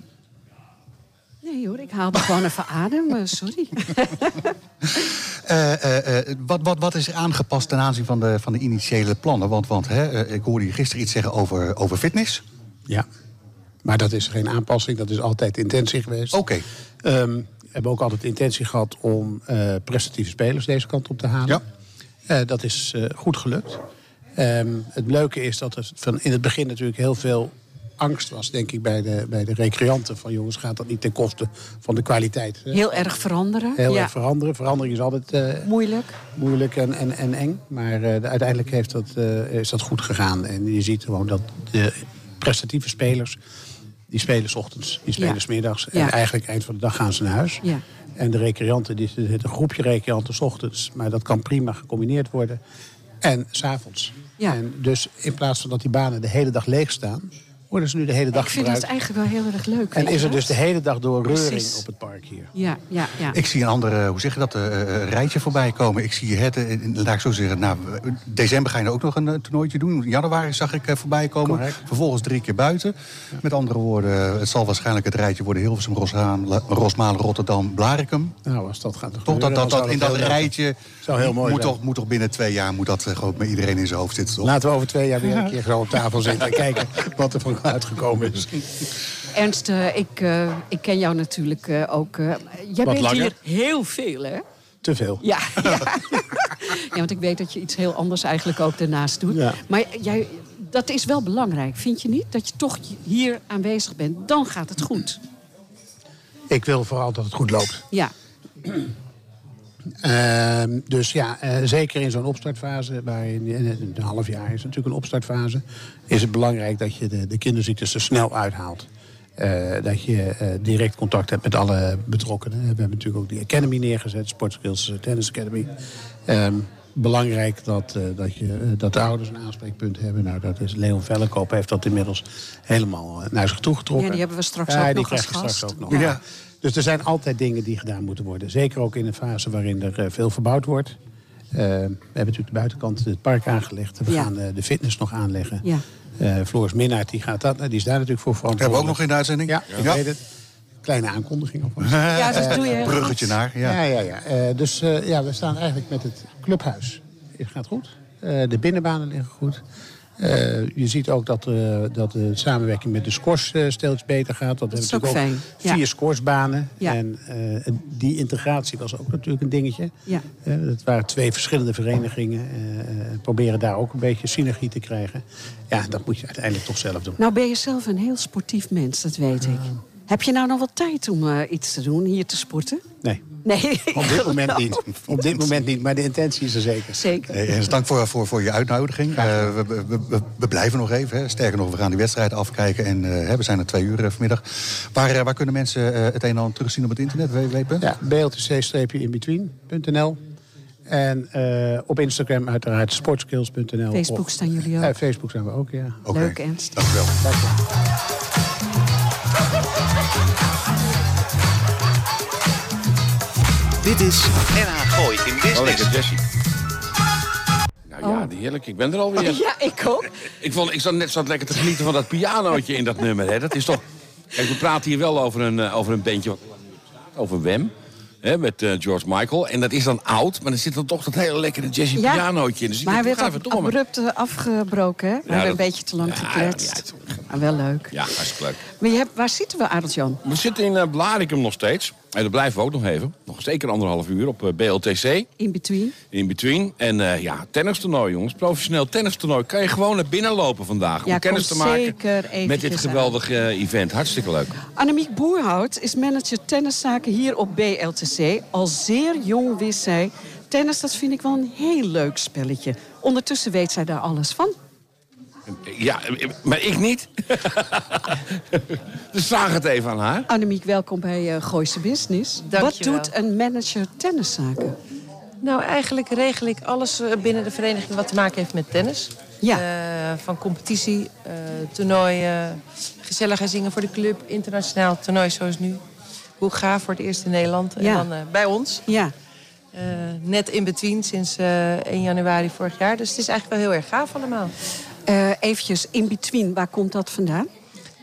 B: Nee hoor, ik haalde gewoon even adem. eh, sorry.
A: eh, eh, eh, wat, wat, wat is er aangepast ten aanzien van de, van de initiële plannen? Want, want hè, eh, ik hoorde je gisteren iets zeggen over, over fitness.
F: Ja. Maar dat is geen aanpassing, dat is altijd intentie geweest.
A: Oké.
F: Ehm, we hebben ook altijd de intentie gehad om eh, prestatieve spelers deze kant op te halen.
A: Ja.
F: Eh, dat is eh, goed gelukt. Ehm, het leuke is dat er van in het begin natuurlijk heel veel angst was, denk ik, bij de, bij de recreanten. Van jongens, gaat dat niet ten koste van de kwaliteit? hè?
B: Heel erg veranderen.
F: Heel
B: ja.
F: erg veranderen. Verandering is altijd eh,
B: Moeilijk.
F: moeilijk en, en, en eng. Maar eh, de- uiteindelijk heeft dat, eh, is dat goed gegaan. En je ziet gewoon dat de prestatieve spelers... die spelen 's ochtends, die spelen
B: Ja.
F: 's middags. En
B: Ja.
F: eigenlijk eind van de dag gaan ze naar huis.
B: Ja.
F: En de recreanten, die, er zit een groepje recreanten 's ochtends. Maar dat kan prima gecombineerd worden. En s'avonds.
B: Ja.
F: En dus in plaats van dat die banen de hele dag leeg staan... worden ze nu de hele dag
B: ik vind
F: gebruikt.
B: dat eigenlijk wel heel erg leuk.
F: En
B: weet
F: is
B: je
F: er dus de
B: dat?
F: hele dag door reuring
B: Precies.
F: op het park hier.
B: Ja, ja, ja.
A: Ik zie een andere, hoe zeg je dat, eh, eh, rijtje voorbij komen. Ik zie het, eh, in- laat ik zo zeggen, nou, eh, december ga je nou ook nog een eh, toernooitje doen. In Januari zag ik eh, voorbij komen.
F: Correct.
A: Vervolgens drie keer buiten. Met andere woorden, het zal waarschijnlijk het rijtje worden Hilversum, Roshaan- La- Rosmalen, Rotterdam, Blarikum.
F: Nou, als dat gaat
A: Toch
F: gebeuren...
A: dat,
F: dan
A: dat,
F: zou
A: dat in dat
F: heel leuk
A: rijtje
F: Zou heel mooi
A: moet,
F: zijn.
A: toch, moet toch binnen twee jaar moet dat eh, gewoon met iedereen in zijn hoofd zitten. Toch?
F: Laten we over twee jaar weer een keer zo op tafel zitten en kijken wat er van uitgekomen is.
B: Ernst, eh, ik, eh, ik ken jou natuurlijk eh, ook. eh, jij bent
C: langer.
B: hier heel veel, hè?
F: Te veel.
B: Ja, ja. ja, want ik weet dat je iets heel anders eigenlijk ook daarnaast doet.
F: Ja.
B: Maar jij, dat is wel belangrijk, vind je niet? Dat je toch hier aanwezig bent, dan gaat het goed.
F: Ik wil vooral dat het goed loopt.
B: Ja,
F: Ehm, dus ja, eh, zeker in zo'n opstartfase, waarin eh, een half jaar is natuurlijk een opstartfase, is het belangrijk dat je de, de kinderziektes er snel uithaalt. Eh, dat je eh, direct contact hebt met alle betrokkenen. We hebben natuurlijk ook die Academy neergezet, Sportskills Tennis Academy. eh, Ehm, belangrijk dat, eh, dat, je, eh, dat de ouders een aanspreekpunt hebben. Nou, dat is Leon Vellekoop heeft dat inmiddels helemaal eh, naar zich toegetrokken.
B: Ja, die hebben we straks
F: Ja,
B: ook
F: die
B: nog
F: krijg
B: als
F: je straks
B: gast.
F: ook nog.
B: Ja.
F: Ja. Dus er zijn altijd dingen die gedaan moeten worden. Zeker ook in een fase waarin er eh, veel verbouwd wordt. Eh, we hebben natuurlijk de buitenkant het park aangelegd. We
B: Ja.
F: gaan eh, de fitness nog aanleggen.
B: Ja.
F: Eh, Floris Minnaert die gaat dat, eh, die is daar natuurlijk voor verantwoordelijk.
A: Hebben we ook nog in de uitzending?
F: Ja, ik
A: Ja.
F: weet het. Kleine aankondiging alvast.
B: Ja, dat
F: eh,
B: doe je heel
A: Bruggetje
B: goed.
A: naar, ja.
F: Ja, ja, ja. Eh, dus eh, ja, we staan eigenlijk met het clubhuis. Het gaat goed. Eh, de binnenbanen liggen goed. Eh, je ziet ook dat, eh, dat de samenwerking met de scores eh, steeds beter gaat. Dat,
B: is
F: hebben we
B: ook
F: natuurlijk
B: fijn, ja.
F: Vier scoresbanen.
B: Ja.
F: En eh, die integratie was ook natuurlijk een dingetje.
B: Ja.
F: Eh, het waren twee verschillende verenigingen. eh, eh, proberen daar ook een beetje synergie te krijgen. Ja, dat moet je uiteindelijk toch zelf doen.
B: Nou ben je zelf een heel sportief mens, dat weet ik. Heb je nou nog wat tijd om eh, iets te doen, hier te sporten?
F: Nee.
B: Nee,
F: Op dit moment niet. Op dit moment niet, maar de intentie is er zeker.
B: Nou, zeker.
A: Hey, Ernst, dank voor, voor, voor je uitnodiging. Eh, we, we, we- we blijven nog even. Hè. Sterker nog, we gaan die wedstrijd afkijken. En eh, hè, we zijn er twee uur eh, vanmiddag. Waar, eh, waar kunnen mensen eh, het een en ander terugzien op het internet? www.
F: Ja, bltc-inbetween.nl. En eh, op Instagram uiteraard sportskills.nl.
B: Facebook
F: Of-
B: staan jullie ook.
F: Eh, Facebook zijn we ook, ja.
A: Oké.
B: Leuk, Ernst.
A: Dank u wel.
D: Dit is NH Gooi in
C: Oh,
D: Business.
C: lekker, Jessie. Nou ja, heerlijk. Ik ben er alweer.
B: Oh. Ja, ik ook.
C: Ik, vond, ik zat net zat lekker te genieten van dat pianootje in dat nummer. Hè. Dat is toch... Kijk, we praten hier wel over een, eh, over een bandje. wat- Over Wem. Hè, met eh, George Michael. En dat is dan oud. Maar er zit dan toch dat hele lekkere jazzy
B: Ja,
C: pianootje in. Dus ik
B: maar hij
C: denk,
B: werd ab-
C: godverdomme.
B: abrupt eh, afgebroken, hè? We hebben een
C: dat-
B: beetje te lang
C: Ja, ja,
B: gekletst.
C: het-
B: Maar wel leuk.
C: Ja, hartstikke leuk.
B: Maar je hebt, waar zitten we, Adeltjan?
C: We zitten in eh, Blaricum nog steeds. En daar blijven we ook nog even. Nog zeker anderhalf uur op eh, BLTC.
B: In between?
C: In between. En eh ja, tennistoernooi jongens. Professioneel tennistoernooi. Kan je gewoon naar binnen lopen vandaag. Om
B: Ja,
C: kennis te
B: kom
C: maken
B: zeker
C: met dit
B: eventjes aan.
C: geweldige eh, event. Hartstikke leuk.
B: Annemiek Boerhout is manager tenniszaken hier op BLTC. Al zeer jong wist zij, tennis dat vind ik wel een heel leuk spelletje. Ondertussen weet zij daar alles van.
C: Ja, maar ik niet. dus vraag het even aan haar.
B: Annemiek, welkom bij eh Gooise Business.
G: Dank
B: Wat
G: je wel.
B: doet een manager tenniszaken?
G: Nou, eigenlijk regel ik alles eh, binnen de vereniging wat te maken heeft met tennis.
B: Ja.
G: Eh, van competitie, eh, toernooien, gezelligheid zingen voor de club, internationaal toernooi zoals nu. Hoe gaaf voor het eerst in Nederland
B: Ja.
G: en dan eh, bij ons.
B: Ja,
G: Eh, net in between sinds eh, 1 januari vorig jaar. Dus het is eigenlijk wel heel erg gaaf allemaal.
B: Even eh, eventjes in between, waar komt dat vandaan?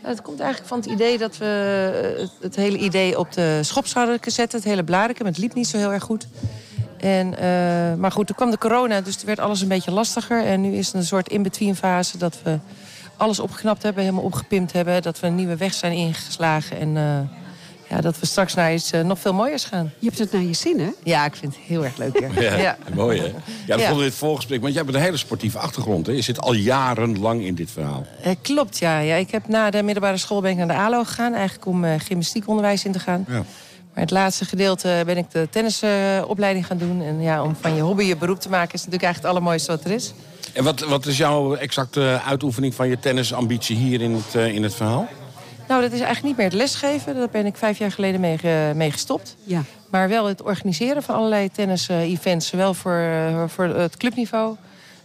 G: Nou, het komt eigenlijk van het idee dat we eh, het, het hele idee op de schops hadden gezet. Het hele bladenken, maar het liep niet zo heel erg goed. En, eh, maar goed, toen kwam de corona, dus toen werd alles een beetje lastiger. En nu is het een soort in-between fase dat we alles opgeknapt hebben, helemaal opgepimpt hebben. Dat we een nieuwe weg zijn ingeslagen. En eh, ja, dat we straks naar iets eh, nog veel mooiers gaan.
B: Je hebt het naar je zin, hè?
G: Ja, ik vind het heel erg leuk hier. Ja.
C: Mooi hè? Ja,
G: Ja.
C: dat vonden we in het voorgesprek. Want jij hebt een hele sportieve achtergrond. Hè? Je zit al jarenlang in dit verhaal.
G: Eh, klopt, ja. ja. Ik heb na de middelbare school ben ik naar de ALO gegaan. Eigenlijk om eh, gymnastiekonderwijs in te gaan.
C: Ja.
G: Maar het laatste gedeelte ben ik de tennisopleiding gaan doen. En ja, om van je hobby je beroep te maken is natuurlijk eigenlijk het allermooiste wat er is.
C: En wat, wat is jouw exacte eh, uitoefening van je tennisambitie hier in het, eh, in het verhaal?
G: Nou, dat is eigenlijk niet meer het lesgeven. Daar ben ik vijf jaar geleden mee, ge- mee gestopt.
B: Ja.
G: Maar wel het organiseren van allerlei tennis-events. zowel voor, eh, voor het clubniveau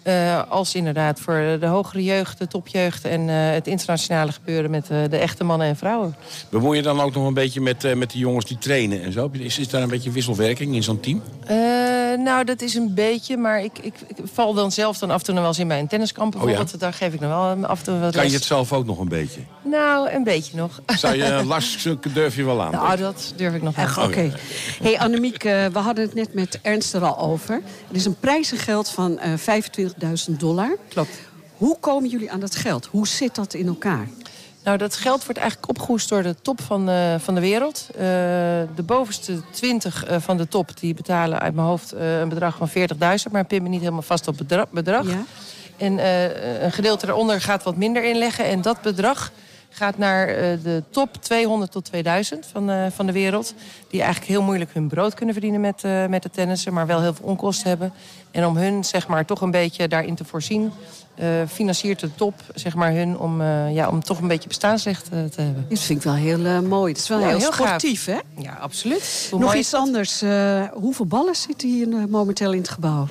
G: eh, als inderdaad voor de hogere jeugd, de topjeugd... en eh, het internationale gebeuren met eh, de echte mannen en vrouwen.
C: Bemoei je dan ook nog een beetje met, eh, met de jongens die trainen en zo? Is, is daar een beetje wisselwerking in zo'n team?
G: Eh, nou, dat is een beetje, maar ik, ik, ik val dan zelf dan af en toe nog wel eens in mijn tenniskamp bijvoorbeeld.
C: Oh ja?
G: Daar geef ik dan wel eh, af en toe wat
C: Kan
G: les.
C: je het zelf ook nog een beetje?
G: Nou, een beetje nog.
C: Zou je eh, last durf je wel aan?
G: Nou, dat durf ik nog
B: Echt,
G: wel.
B: oké. Hey Annemiek, eh, we hadden het net met Ernst er al over. Er is een prijzengeld van eh, 25.000 dollar.
G: Klopt.
B: Hoe komen jullie aan dat geld? Hoe zit dat in elkaar?
G: Nou, dat geld wordt eigenlijk opgehoest door de top van, eh, van de wereld. Eh, de bovenste 20 eh, van de top die betalen uit mijn hoofd eh, een bedrag van 40.000, maar pin me niet helemaal vast op bedra- bedrag.
B: Ja.
G: En eh, een gedeelte daaronder gaat wat minder inleggen. En dat bedrag gaat naar eh, de top 200 tot 2000 van, eh, van de wereld. Die eigenlijk heel moeilijk hun brood kunnen verdienen met, eh, met de tennissen. Maar wel heel veel onkosten hebben. En om hun zeg maar, toch een beetje daarin te voorzien... eh, financiert de top zeg maar, hun om, eh, ja, om toch een beetje bestaansrecht eh, te hebben.
B: Dit vind ik wel heel eh, mooi. Het is wel
G: Ja,
B: heel,
G: heel gaaf.
B: sportief, hè?
G: Ja, absoluut. Hoe
B: Nog
G: mooi is
B: iets
G: dat?
B: anders. eh, hoeveel ballen zitten hier eh, momenteel in het gebouw?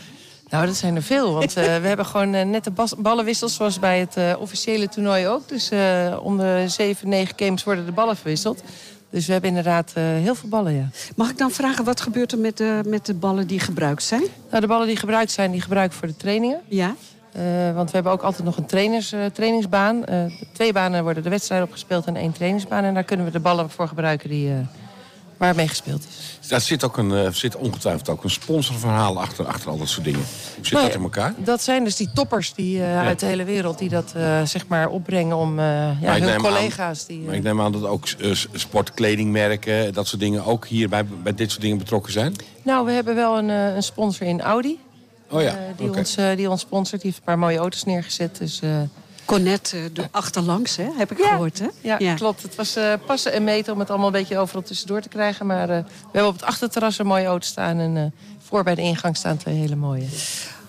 G: Nou, dat zijn er veel. Want eh, we hebben gewoon eh, net de bas- ballenwissels zoals bij het eh, officiële toernooi ook. Dus eh, om de 7, 9 games worden de ballen verwisseld. Dus we hebben inderdaad eh, heel veel ballen, ja.
B: Mag ik dan vragen, wat gebeurt er met de, met de ballen die gebruikt zijn?
G: Nou, de ballen die gebruikt zijn, die gebruiken we voor de trainingen.
B: Ja?
G: Eh, want we hebben ook altijd nog een trainers, eh, trainingsbaan. Eh, twee banen worden de wedstrijden opgespeeld en één trainingsbaan. En daar kunnen we de ballen voor gebruiken die, eh, waar mee gespeeld is.
C: Daar zit, ook een, eh, zit ongetwijfeld ook een sponsorverhaal achter, achter al dat soort dingen. Hoe zit
G: Nou
C: dat
G: ja,
C: in elkaar?
G: Dat zijn dus die toppers die, eh, uit de hele wereld die dat eh, zeg maar opbrengen om eh, ja,
C: Maar ik
G: hun
C: neem aan-
G: collega's. die, eh,
C: Maar ik neem aan dat ook eh, s- sportkledingmerken, dat soort dingen ook hier bij, bij dit soort dingen betrokken zijn.
G: Nou, we hebben wel een, eh, een sponsor in Audi.
C: Oh ja,
G: eh, die,
C: oké.
G: ons, eh, die ons sponsort. Die heeft een paar mooie auto's neergezet. Dus, eh,
B: Cornet eh, de achterlangs, hè? heb ik gehoord. Hè?
G: Ja, klopt. Het was eh, passen en meten om het allemaal een beetje overal tussendoor te krijgen. Maar eh, we hebben op het achterterras een mooie auto staan. En eh, voor bij de ingang staan twee hele mooie.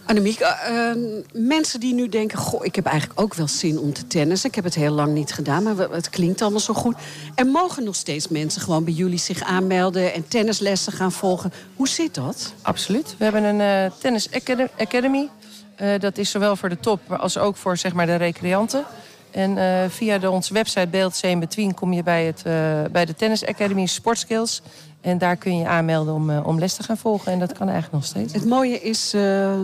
B: Annemiek, eh, eh, mensen die nu denken... Goh, ik heb eigenlijk ook wel zin om te tennissen. Ik heb het heel lang niet gedaan, maar we- het klinkt allemaal zo goed. Er mogen nog steeds mensen gewoon bij jullie zich aanmelden... en tennislessen gaan volgen. Hoe zit dat?
G: Absoluut. We hebben een eh, Tennis acad- Academy. Eh, dat is zowel voor de top maar als ook voor zeg maar, de recreanten. En eh, via de, onze website Beeld in Between kom je bij, het, eh, bij de Tennis Academy Sportskills. En daar kun je aanmelden om, eh, om les te gaan volgen. En dat kan eigenlijk nog steeds.
B: Het mooie is, eh,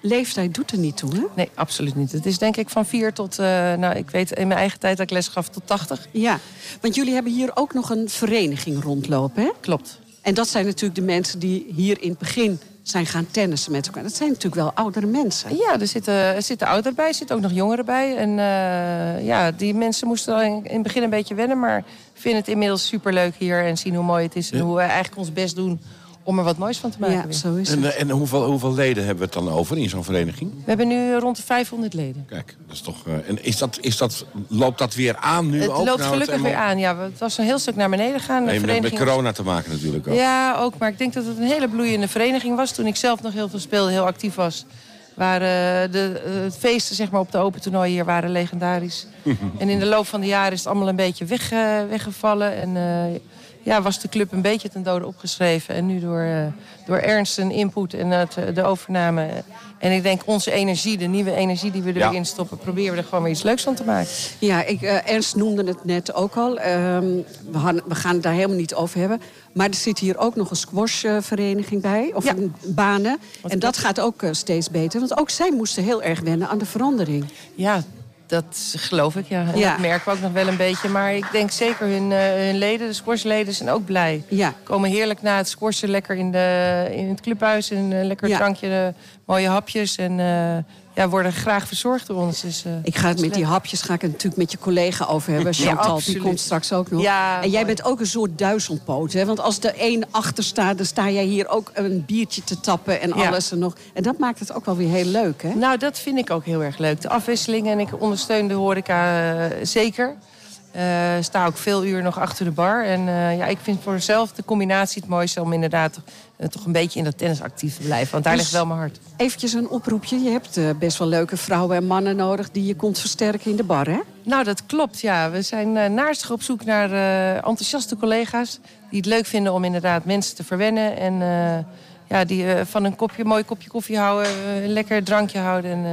B: leeftijd doet er niet toe, hè?
G: Nee, absoluut niet. Het is denk ik van vier tot, eh, nou ik weet in mijn eigen tijd dat ik les gaf tot 80.
B: Ja, want jullie hebben hier ook nog een vereniging rondlopen, hè?
G: Klopt.
B: En dat zijn natuurlijk de mensen die hier in het begin zijn gaan tennissen met elkaar. Dat zijn natuurlijk wel oudere mensen.
G: Ja, er zitten, er zitten ouderen bij, er zitten ook nog jongeren bij. En eh, ja, die mensen moesten al in, in het begin een beetje wennen... maar vinden het inmiddels superleuk hier en zien hoe mooi het is... en hoe we eigenlijk ons best doen om er wat moois van te maken.
B: Ja,
G: weer.
B: zo is het.
C: En, eh, en hoeveel, hoeveel leden hebben we het dan over in zo'n vereniging?
G: We hebben nu rond de 500 leden.
C: Kijk, dat is toch. eh, en is dat, is dat, loopt dat weer aan nu
G: Het
C: ook?
G: loopt
C: Nou,
G: gelukkig
C: helemaal-
G: weer aan. Ja, we- het was een heel stuk naar beneden gegaan. De
C: Nee, met, met
G: vereniging was-
C: corona te maken natuurlijk ook.
G: Ja, ook. Maar ik denk dat het een hele bloeiende vereniging was. Toen ik zelf nog heel veel speelde, heel actief was. Waren de eh, feesten zeg maar, op de open toernooi hier waren legendarisch. en in de loop van de jaren is het allemaal een beetje weg, eh, weggevallen. En eh, ja, was de club een beetje ten dode opgeschreven. En nu door, eh, door ernst en input en het, eh, de overname. En ik denk onze energie, de nieuwe energie die we
C: Ja.
G: erin stoppen... proberen we er gewoon weer iets leuks van te maken.
B: Ja, ik, eh, Ernst noemde het net ook al. Ehm, we, han- we gaan het daar helemaal niet over hebben. Maar er zit hier ook nog een squashvereniging bij. Of
G: Ja.
B: een banen. en dat gaat ook eh, steeds beter. Want ook zij moesten heel erg wennen aan de verandering.
G: Ja, dat geloof ik, ja. En
B: Ja.
G: Dat merken we ook nog wel een beetje. Maar ik denk zeker hun, eh, hun leden, de squashleden, zijn ook blij.
B: Ja.
G: Komen heerlijk na het squashen lekker in, de, in het clubhuis. En een lekker
B: Ja.
G: drankje, eh, mooie hapjes. En eh, ja, worden graag verzorgd door ons. Dus, eh,
B: Ik ga het met die hapjes ga ik het natuurlijk met je collega over hebben. Chantal, die
G: absoluut.
B: komt straks ook nog.
G: Ja,
B: en jij
G: mooi.
B: bent ook een soort duizelpoot. Hè? Want als er één achter staat, dan sta jij hier ook een biertje te tappen en
G: Ja.
B: alles en nog. En dat maakt het ook wel weer heel leuk, hè?
G: Nou, dat vind ik ook heel erg leuk. De afwisseling en ik ondersteun de horeca eh, zeker. Eh sta ook veel uur nog achter de bar. En eh, ja, ik vind voor mezelf de combinatie het mooiste om inderdaad eh, toch een beetje in dat tennis actief te blijven. Want daar
B: Dus-
G: ligt wel mijn hart.
B: Eventjes een oproepje. Je hebt eh, best wel leuke vrouwen en mannen nodig die je komt versterken in de bar, hè?
G: Nou, dat klopt, ja. We zijn eh, naarstig op zoek naar eh, enthousiaste collega's... die het leuk vinden om inderdaad mensen te verwennen... en eh, ja, die eh, van een kopje, mooi kopje koffie houden, eh, een lekker drankje houden... en eh,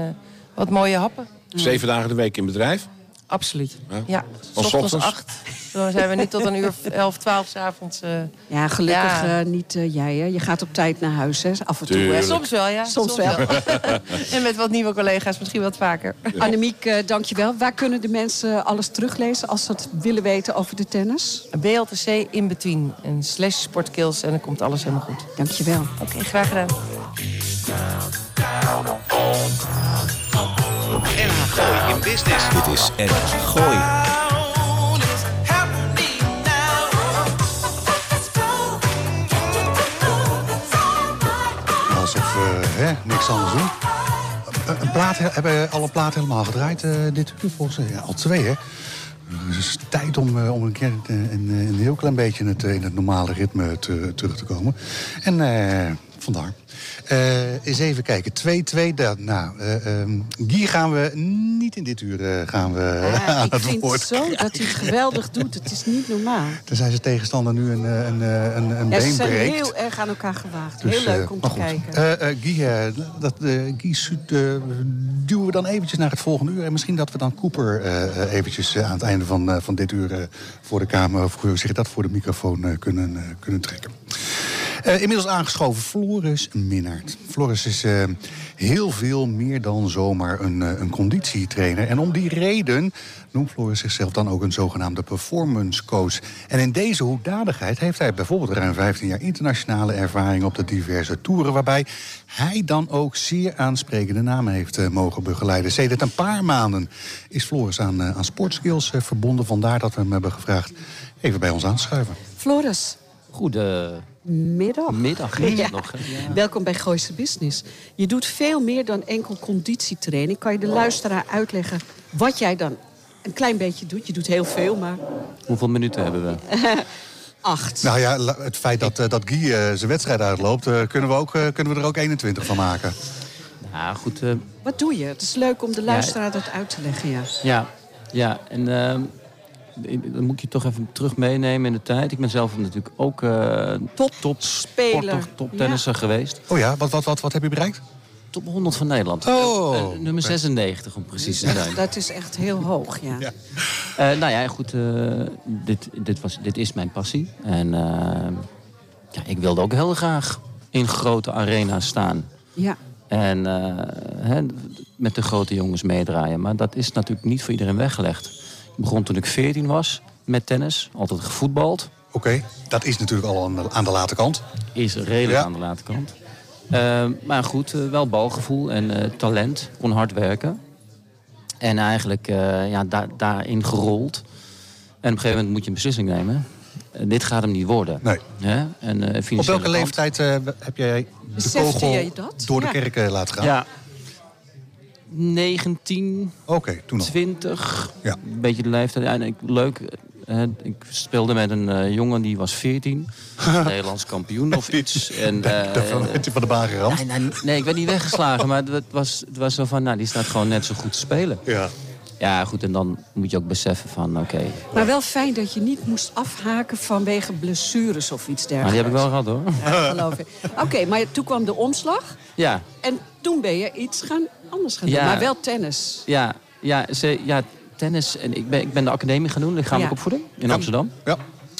G: wat mooie happen.
C: Zeven dagen de week in bedrijf.
G: Absoluut,
C: Ja.
G: ja.
C: Van
G: ochtends,
C: ochtends?
G: acht. Dan zijn we niet tot een uur of elf, twaalf s'avonds. eh
B: Ja, gelukkig
G: Ja.
B: eh, niet eh, jij, hè? Je gaat op tijd naar huis, hè? Af en toe, hè?
C: Tuurlijk.
G: Soms wel, ja.
B: Soms wel.
G: en met wat nieuwe collega's misschien wat vaker.
B: Annemiek, eh, dankjewel. Waar kunnen de mensen eh, alles teruglezen als ze dat willen weten over de tennis?
G: BLTC in between en slash sportkills en dan komt alles helemaal goed.
B: Dankjewel.
G: Oké, graag gedaan.
D: Gooi in business. Dit is en gooi.
A: Alsof we hè, niks anders doen. Eh, Een plaat, he- hebben we alle platen helemaal gedraaid eh, dit uur volgens mij? Ja, al twee, hè? Dus het is tijd om, eh, om een keer eh, een, een heel klein beetje in het, eh, in het normale ritme te, terug te komen. En eh, Vandaar. Eh, eens even kijken. 2-2. da- Nou, eh, ehm, die gaan we niet in dit uur eh, gaan we aan
B: ik
A: het
B: vind
A: woord.
B: het zo dat hij het geweldig doet. Het is niet normaal.
A: Tenzij zijn tegenstander nu een, eh, een, eh, een, een
B: Ja, ze
A: been
B: zijn
A: breekt.
B: heel erg aan elkaar gewaagd.
A: Dus,
B: heel leuk
A: eh,
B: om te
A: maar goed.
B: kijken.
A: Eh, eh, Guy, eh, dat, eh, Guy Soet, eh, duwen we dan eventjes naar het volgende uur. En misschien dat we dan Cooper eh, eh, eventjes eh, aan het einde van, eh, van dit uur... eh, voor de Kamer, of hoe zeg je dat, voor de microfoon eh, kunnen, eh, kunnen trekken. Eh, inmiddels aangeschoven Floris Minnaert. Floris is eh, heel veel meer dan zomaar een, eh, een conditietrainer. En om die reden noemt Floris zichzelf dan ook een zogenaamde performance coach. En in deze hoedanigheid heeft hij bijvoorbeeld ruim 15 jaar internationale ervaring op de diverse toeren. Waarbij hij dan ook zeer aansprekende namen heeft eh, mogen begeleiden. Sedert een paar maanden is Floris aan, eh, aan sportskills eh, verbonden. Vandaar dat we hem hebben gevraagd even bij ons aan te schuiven.
B: Floris,
H: Goedemiddag.
B: middag.
H: is
B: Ja.
H: het nog. hè?
B: Welkom bij Gooise Business. Je doet veel meer dan enkel conditietraining. Kan je de luisteraar uitleggen wat jij dan een klein beetje doet? Je doet heel veel, maar
H: Hoeveel minuten hebben we?
B: acht.
A: Nou ja, la- het feit dat, eh, dat Guy eh, zijn wedstrijd uitloopt, eh, kunnen, we ook, eh, kunnen we er ook 21 van maken.
H: Nou, goed. eh,
B: Wat doe je? Het is leuk om de luisteraar dat uit te leggen, ja.
H: ja, ja, en ehm, in- dan moet ik je toch even terug meenemen in de tijd. Ik ben zelf natuurlijk ook eh
B: Top-
H: top
B: speler.
H: sporter, toptennisser geweest.
A: Oh ja, wat, wat, wat, wat heb je bereikt?
H: Top 100 van Nederland.
A: Oh.
H: Eh, eh, nummer 96 om precies te zijn.
B: Dat is echt heel hoog, ja.
A: Ja.
H: Eh, nou ja, goed. eh, dit, dit, was, dit is mijn passie. En eh, ja, ik wilde ook heel graag in grote arena's staan.
B: Ja,
H: En eh, hè, met de grote jongens meedraaien. Maar dat is natuurlijk niet voor iedereen weggelegd. Ik begon toen ik 14 was met tennis. Altijd gevoetbald.
A: Oké, dat is natuurlijk al aan de, aan de late kant.
H: Is redelijk
A: Ja.
H: aan de late kant. Eh, maar goed, eh, wel balgevoel en eh, talent. Kon hard werken. En eigenlijk eh, ja, daar, daarin gerold. En op een gegeven moment moet je een beslissing nemen. Eh, dit gaat hem niet worden.
A: Nee.
H: Hè? En, eh, financiële
A: Op welke
H: kant.
A: leeftijd eh, heb jij de
B: Besefte
A: kogel
B: jij dat?
A: door de
B: Ja.
A: kerk eh, laten gaan?
H: Ja. 19,
A: Oké, toen al.
H: 20.
A: Ja.
H: Een beetje de leeftijd. En ik, leuk, eh, ik speelde met een eh, jongen die was 14. Nederlands kampioen of iets. En, eh,
A: Daarvan werd je van de baan geramd.
H: nee, nou, nee, ik werd niet weggeslagen. Maar het was, het was zo van, nou, die staat gewoon net zo goed te spelen.
A: Ja.
H: Ja, goed, en dan moet je ook beseffen van, oké.
B: maar wel fijn dat je niet moest afhaken vanwege blessures of iets
H: Maar die
B: dergelijks.
H: heb ik wel gehad, hoor.
B: Ja, geloof ik. Oké, maar toen kwam de omslag.
H: Ja,
B: En toen ben je iets gaan anders gaan doen.
H: Ja.
B: Maar wel tennis.
H: ja, ja, ze, ja tennis. En ik ben, ik ben de academie gaan doen, lichamelijke
B: Ja.
H: opvoeding, in Amsterdam.
A: Ja.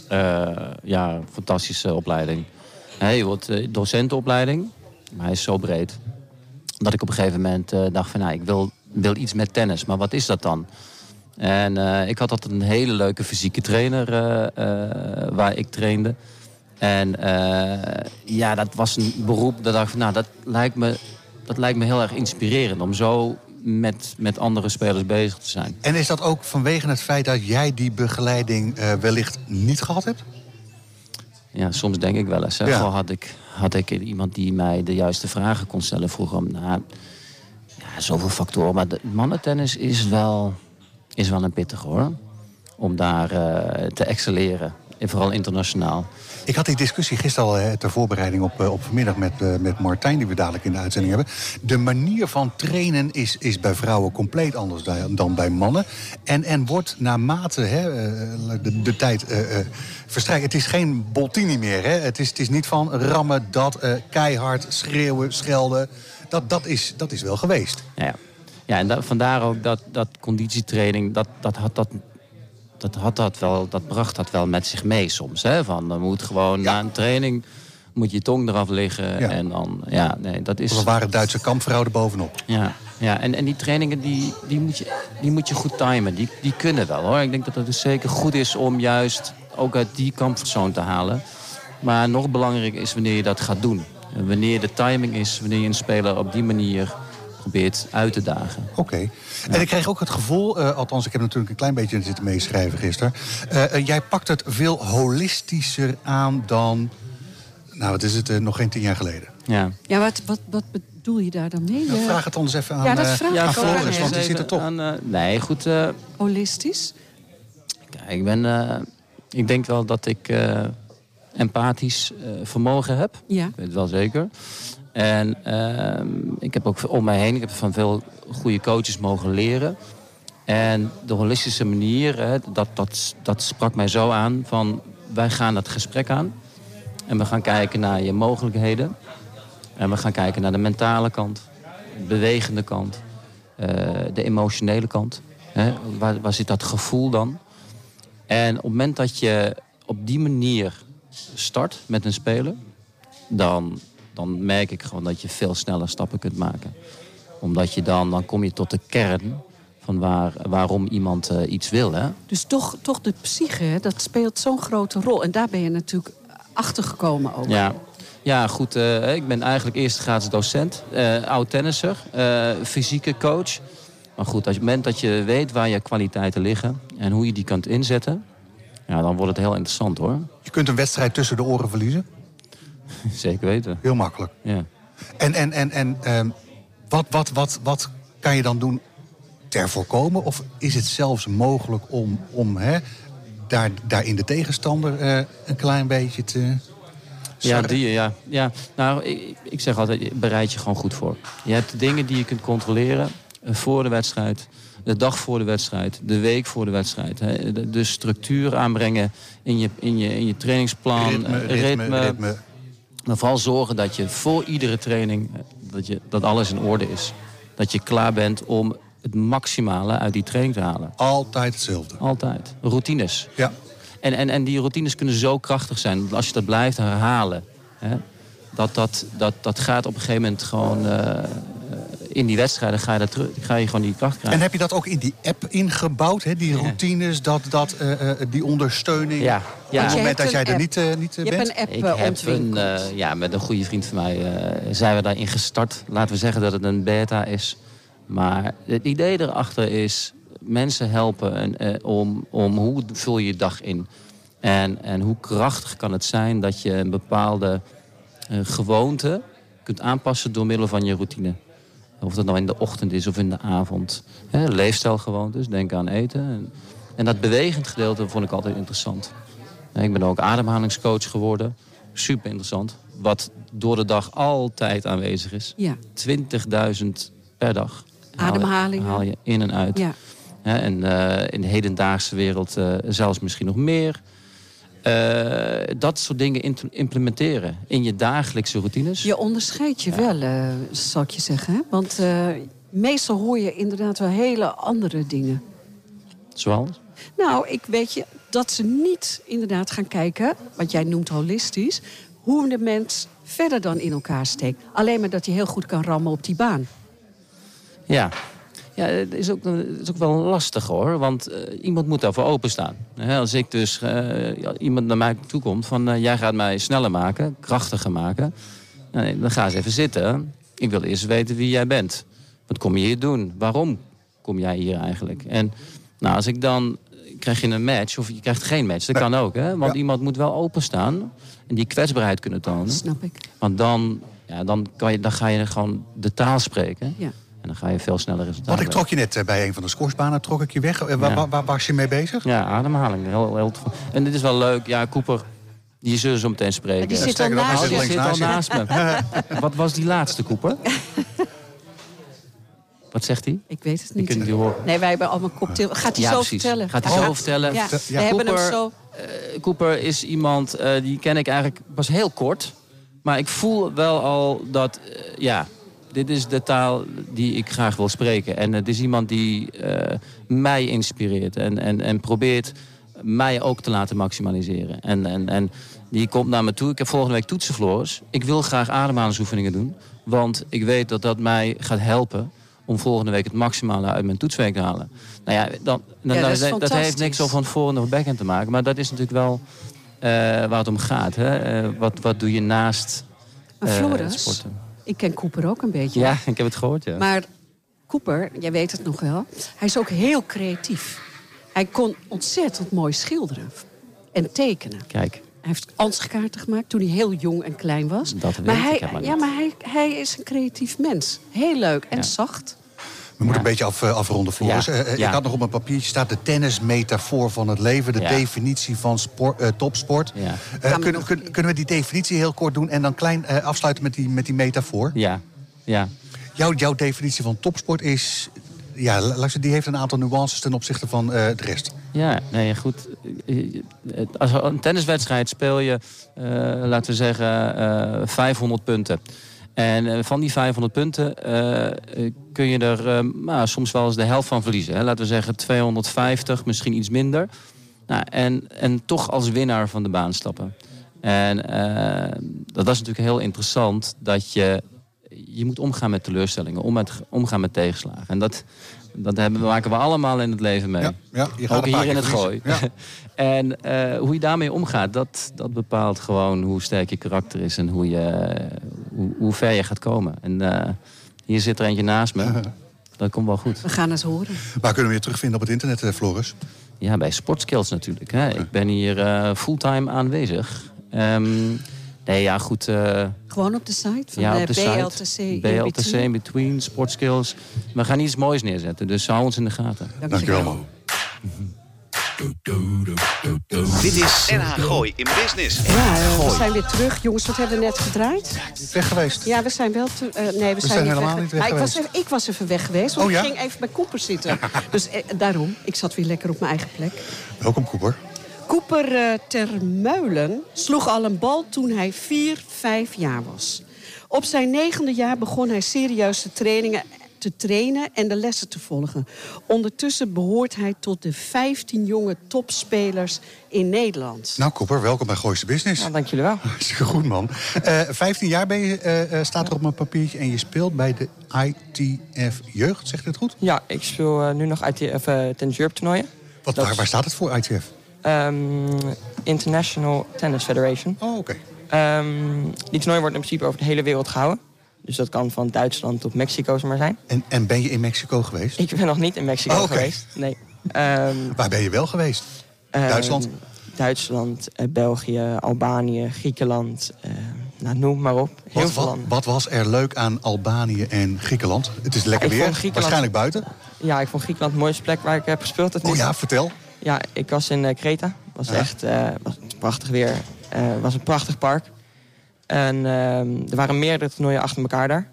H: Eh, ja, fantastische opleiding. Hij wordt eh, docentenopleiding, maar hij is zo breed. Dat ik op een gegeven moment eh, dacht van, nou, ik wil, wil iets met tennis, maar wat is dat dan? En eh, ik had altijd een hele leuke fysieke trainer eh, eh, waar ik trainde. En eh, ja, dat was een beroep, dat dacht ik van, nou, dat lijkt me, dat lijkt me heel erg inspirerend om zo met, met andere spelers bezig te zijn.
A: En is dat ook vanwege het feit dat jij die begeleiding eh, wellicht niet gehad hebt?
H: Ja, soms denk ik wel eens. Hè.
A: Ja.
H: Goh, had, ik, had ik iemand die mij de juiste vragen kon stellen vroeger. om, Nou, ja, zoveel factoren. Maar de mannentennis is wel, is wel een pittig hoor. Om daar eh, te excelleren. En vooral internationaal.
A: Ik had die discussie gisteren al eh, ter voorbereiding op, eh, op vanmiddag met, eh, met Martijn, die we dadelijk in de uitzending hebben. De manier van trainen is, is bij vrouwen compleet anders da- dan bij mannen. En, en wordt naarmate hè, eh, de, de tijd eh, eh, verstrijkt. Het is geen Boltini meer. Hè? Het, is, het is niet van rammen, dat, eh, keihard, schreeuwen, schelden. Dat, dat, is, dat is wel geweest.
H: Nou Ja, ja. ja en da- vandaar ook dat, dat conditietraining, dat, dat had dat... Dat, had dat, wel, dat bracht dat wel met zich mee soms. Hè? Van, dan moet gewoon na een training moet je tong eraf liggen.
A: Ja.
H: En dan, ja, nee, dat is...
A: Als het ware Duitse kampvrouwen bovenop.
H: Ja, ja. En, en die trainingen die, die, moet je, die moet je goed timen. Die, die kunnen wel hoor. Ik denk dat het dus zeker goed is om juist ook uit die comfortzone te halen. Maar nog belangrijker is wanneer je dat gaat doen. En wanneer de timing is, wanneer je een speler op die manier probeert uit te dagen.
A: Oké. En ik kreeg ook het gevoel, eh, althans ik heb natuurlijk een klein beetje zitten meeschrijven gisteren. eh, eh, jij pakt het veel holistischer aan dan, nou wat is het, eh, nog geen tien jaar geleden.
H: Ja.
B: Ja, wat, wat, wat bedoel je daar dan mee?
A: Nou,
B: Ja.
A: vraag het anders even aan,
B: Ja, dat
A: eh,
B: vraag
A: aan
B: ik ook
A: Floris,
B: aan
A: want die
H: Even
A: zit er toch.
H: aan, eh, nee, goed. eh,
B: Holistisch?
H: Kijk, ik ben. eh, ik denk wel dat ik. eh, empathisch eh, vermogen heb.
B: Ja.
H: Ik weet het wel zeker. En ehm, ik heb ook om mij heen, ik heb van veel goede coaches mogen leren. En de holistische manier, hè, dat, dat, dat sprak mij zo aan van wij gaan dat gesprek aan. En we gaan kijken naar je mogelijkheden. En we gaan kijken naar de mentale kant, de bewegende kant, eh, de emotionele kant. Hè? Waar, waar zit dat gevoel dan? En op het moment dat je op die manier start met een speler, dan, dan merk ik gewoon dat je veel sneller stappen kunt maken. Omdat je dan, dan kom je tot de kern van waar, waarom iemand eh, iets wil. Hè?
B: Dus toch, toch de psyche, hè, dat speelt zo'n grote rol. En daar ben je natuurlijk achtergekomen ook.
H: Ja. Ja, goed. eh, ik ben eigenlijk eerste graads docent, eh, oud tennisser, eh, fysieke coach. Maar goed, als je- op het moment dat je weet waar je kwaliteiten liggen en hoe je die kunt inzetten, ja, dan wordt het heel interessant hoor.
A: Je kunt een wedstrijd tussen de oren verliezen.
H: Zeker weten.
A: Heel makkelijk.
H: Ja.
A: En, en, en, en ehm, wat, wat, wat, wat kan je dan doen ter voorkomen? Of is het zelfs mogelijk om, om hè, daar, daarin de tegenstander eh, een klein beetje te...
H: Ja,
A: sarren?
H: die, ja. ja. Nou, ik, ik zeg altijd, je- bereid je gewoon goed voor. Je hebt de dingen die je kunt controleren eh, voor de wedstrijd. De dag voor de wedstrijd, de week voor de wedstrijd. Hè. De, de structuur aanbrengen in je, in je, in je trainingsplan.
A: Ritme,
H: eh,
A: ritme, ritme.
H: Maar vooral zorgen dat je voor iedere training eh, dat, je, dat alles in orde is. Dat je klaar bent om het maximale uit die training te halen.
A: Altijd hetzelfde.
H: Altijd. Routines.
A: Ja.
H: En, en, en die routines kunnen zo krachtig zijn. dat Als je dat blijft herhalen. Hè, dat, dat, dat, dat gaat op een gegeven moment gewoon... eh, eh, in die wedstrijden ga je, dat teru- ga je gewoon die kracht krijgen.
A: En heb je dat ook in die app ingebouwd? Hè? Die routines, dat, dat, eh, eh, die ondersteuning.
H: Ja, ja.
A: Op het
H: Want je
B: hebt
A: moment dat
B: een
A: jij er
B: app.
A: niet, eh, niet eh,
B: Je
A: bent.
B: hebt een app
H: Ik
B: eh,
H: heb een,
B: ontwikkeld.
H: eh, ja, met een goede vriend van mij eh, zijn we daarin gestart. Laten we zeggen dat het een beta is. Maar het idee erachter is mensen helpen en, eh, om, om hoe vul je je dag in. En, en hoe krachtig kan het zijn dat je een bepaalde eh, gewoonte kunt aanpassen door middel van je routine. Of dat nou in de ochtend is of in de avond. Hè, leefstijlgewoontes, denk aan eten. En, en dat bewegend gedeelte vond ik altijd interessant. Ik ben ook ademhalingscoach geworden. Super interessant. Wat door de dag altijd aanwezig is.
B: Ja.
H: 20.000 per dag.
B: Ademhalingen.
H: Haal je in en uit.
B: Ja.
H: Hè, en eh, in de hedendaagse wereld eh, zelfs misschien nog meer. Eh, dat soort dingen int- implementeren in je dagelijkse routines.
B: Je onderscheidt je wel, eh, zal ik je zeggen. hè? Want eh, meestal hoor je inderdaad wel hele andere dingen.
H: Zoals?
B: Nou, ik weet je dat ze niet inderdaad gaan kijken, wat jij noemt holistisch, hoe de mens verder dan in elkaar steekt. Alleen maar dat je heel goed kan rammen op die baan.
H: Ja. Ja, het is, ook, het is ook wel lastig hoor, want eh, iemand moet daarvoor openstaan. Hè, als ik dus eh, ja, iemand naar mij toe komt van eh, jij gaat mij sneller maken, krachtiger maken. Nou, dan ga eens even zitten. Ik wil eerst weten wie jij bent. Wat kom je hier doen? Waarom kom jij hier eigenlijk? En nou, als ik dan krijg je een match of je krijgt geen match, dat kan ook. Hè? Want iemand moet wel openstaan en die kwetsbaarheid kunnen tonen.
B: Snap ik.
H: Want dan, ja, dan, kan je, dan ga je gewoon de taal spreken.
B: Ja.
H: En dan ga je veel sneller
A: Want
H: resultaten
A: ik trok je net eh, bij een van de scoresbanen trok ik je weg. Eh, waar,
H: Ja.
A: waar, waar was je mee bezig?
H: Ja, ademhaling. Heel, heel, en dit is wel leuk. Ja, Cooper, die zullen zo meteen spreken.
B: Die zit al
A: sterker nog, hij
H: Oh,
B: naast
H: die
A: links
B: je.
H: zit al naast me. Wat was die laatste, Cooper? Wat zegt hij?
B: Ik weet het
H: Je kunt
B: niet.
H: het niet horen.
B: Nee, wij hebben allemaal cocktail. Gaat hij
H: Ja,
B: zo
H: precies.
B: vertellen?
H: Gaat hij zo vertellen.
B: Ja,
H: Ja,
B: we hebben hem
H: Cooper-
B: zo.
H: Eh, Cooper is iemand, eh, die ken ik eigenlijk pas heel kort. Maar ik voel wel al dat, eh, ja, dit is de taal die ik graag wil spreken. En het is iemand die eh, mij inspireert en, en, en probeert mij ook te laten maximaliseren. En, en, en die komt naar me toe. Ik heb volgende week toetsen, Floris. Ik wil graag ademhalingsoefeningen doen. Want ik weet dat dat mij gaat helpen om volgende week het maximale uit mijn toetsweek te halen. Nou ja, dan, dan,
B: Ja, dat is
H: dat, dat heeft niks
B: fantastisch.
H: over van voren nog backhand te maken. Maar dat is natuurlijk wel eh, waar het om gaat. Hè? Eh, wat, wat doe je naast
B: Maar
H: eh,
B: Floris,
H: sporten?
B: ik ken Cooper ook een beetje.
H: Ja, ik heb het gehoord, ja.
B: Maar Cooper, jij weet het nog wel, hij is ook heel creatief. Hij kon ontzettend mooi schilderen en tekenen.
H: Kijk,
B: Hij heeft ansichtkaarten gemaakt toen hij heel jong en klein was.
H: Dat weet
B: maar
H: ik
B: hij,
H: helemaal
B: Ja,
H: niet.
B: maar hij, hij is een creatief mens. Heel leuk en
H: Ja.
B: zacht.
A: We moeten
H: Ja.
A: een beetje af, eh, afronden, Floris.
H: Ja,
A: Eh, eh,
H: ja.
A: Ik had nog op mijn papiertje staat de tennismetafoor van het leven. De
H: Ja.
A: definitie van spor- eh, topsport.
H: Ja.
A: Eh,
H: Gaan
B: we
A: kunnen,
B: nog-
A: kun- kunnen we die definitie heel kort doen en dan klein eh, afsluiten met die, met die metafoor?
H: Ja, ja.
A: Jouw, jouw definitie van topsport is... Ja, la- laat ik zeggen, die heeft een aantal nuances ten opzichte van eh de rest.
H: Ja, nee, goed. Eh, eh, Als een tenniswedstrijd speel je, eh, laten we zeggen, eh 500 punten. En eh, van die 500 punten eh, eh, kun je er eh, nou, soms wel eens de helft van verliezen. Hè? Laten we zeggen 250, misschien iets minder. Nou, en, en toch als winnaar van de baan stappen. En eh, dat is natuurlijk heel interessant dat je je moet omgaan met teleurstellingen, om met, omgaan met tegenslagen. En dat, dat hebben, maken we allemaal in het leven mee.
A: Ja, ja, je gaat
H: Ook
A: een paar
H: hier in
A: keer
H: het gooi.
A: verliezen.
H: en eh, hoe je daarmee omgaat, dat, dat bepaalt gewoon hoe sterk je karakter is en hoe, je, hoe, hoe ver je gaat komen. En eh, hier zit er eentje naast me. Dat komt wel goed.
B: We gaan het horen.
A: Waar kunnen we je terugvinden op het internet, eh, Floris?
H: Ja, bij Sportskills natuurlijk. Hè. Ik ben hier eh, fulltime aanwezig. Ehm, nee, ja, goed. eh,
B: Gewoon op de site van eh,
H: ja,
B: de
H: op de
B: BLTC.
H: site.
B: in
H: BLTC
B: Between.
H: in between, Sportskills. We gaan iets moois neerzetten, dus hou ons in de gaten.
A: Dankjewel, man.
D: Dit is NH Gooi in Business.
B: Ja, eh, we zijn weer terug. Jongens, wat hebben we net gedraaid?
A: Weg geweest.
B: Ja, we zijn wel te, eh, nee, we,
A: zijn
B: niet
A: helemaal
B: weg.
A: niet weg
B: Maar ik was,
A: geweest.
B: even, ik was even weg geweest, want
A: Oh, ja?
B: ik ging even bij Cooper zitten. dus eh, daarom, ik zat weer lekker op mijn eigen plek.
A: Welkom, Cooper.
B: Cooper eh, Termeulen sloeg al een bal toen hij 4, 5 jaar was. Op zijn negende jaar begon hij serieus te, trainingen, te trainen en de lessen te volgen. Ondertussen behoort hij tot de 15 jonge topspelers in Nederland.
A: Nou, Cooper, welkom bij Gooiste Business.
G: Nou, dank jullie wel.
A: Hartstikke goed, man. Eh 15 jaar ben je, eh, eh, staat er op mijn papiertje en je speelt bij de ITF Jeugd. Zegt dit goed?
I: Ja, ik speel eh, nu nog ITF eh Tennis Europe toernooien.
A: Wat,
I: Dat
A: waar, waar staat het voor, ITF?
I: Ehm, International Tennis Federation.
A: Oh, oké.
I: Ehm, die toernooi wordt in principe over de hele wereld gehouden. Dus dat kan van Duitsland tot Mexico zomaar zijn.
A: En, en ben je in Mexico geweest?
I: Ik ben nog niet in Mexico
A: Oh, oké.
I: geweest. Nee. Ehm,
A: Waar ben je wel geweest?
I: ehm,
A: Duitsland?
I: Duitsland, eh, België, Albanië, Griekenland. eh, nou, noem maar op. Heel
A: Wat,
I: veel
A: wat,
I: landen.
A: wat was er leuk aan Albanië en Griekenland? Het is lekker
I: Ik vond
A: weer,
I: Griekenland-
A: waarschijnlijk buiten.
I: Ja, ik vond Griekenland de mooiste plek waar ik heb gespeeld. tot nu
A: Oh
I: toe.
A: ja, vertel.
I: Ja, ik was in eh, Kreta. Het was
A: Ja.
I: echt eh, was prachtig weer. Eh, Het was een prachtig park. En ehm, er waren meerdere toernooien achter elkaar daar.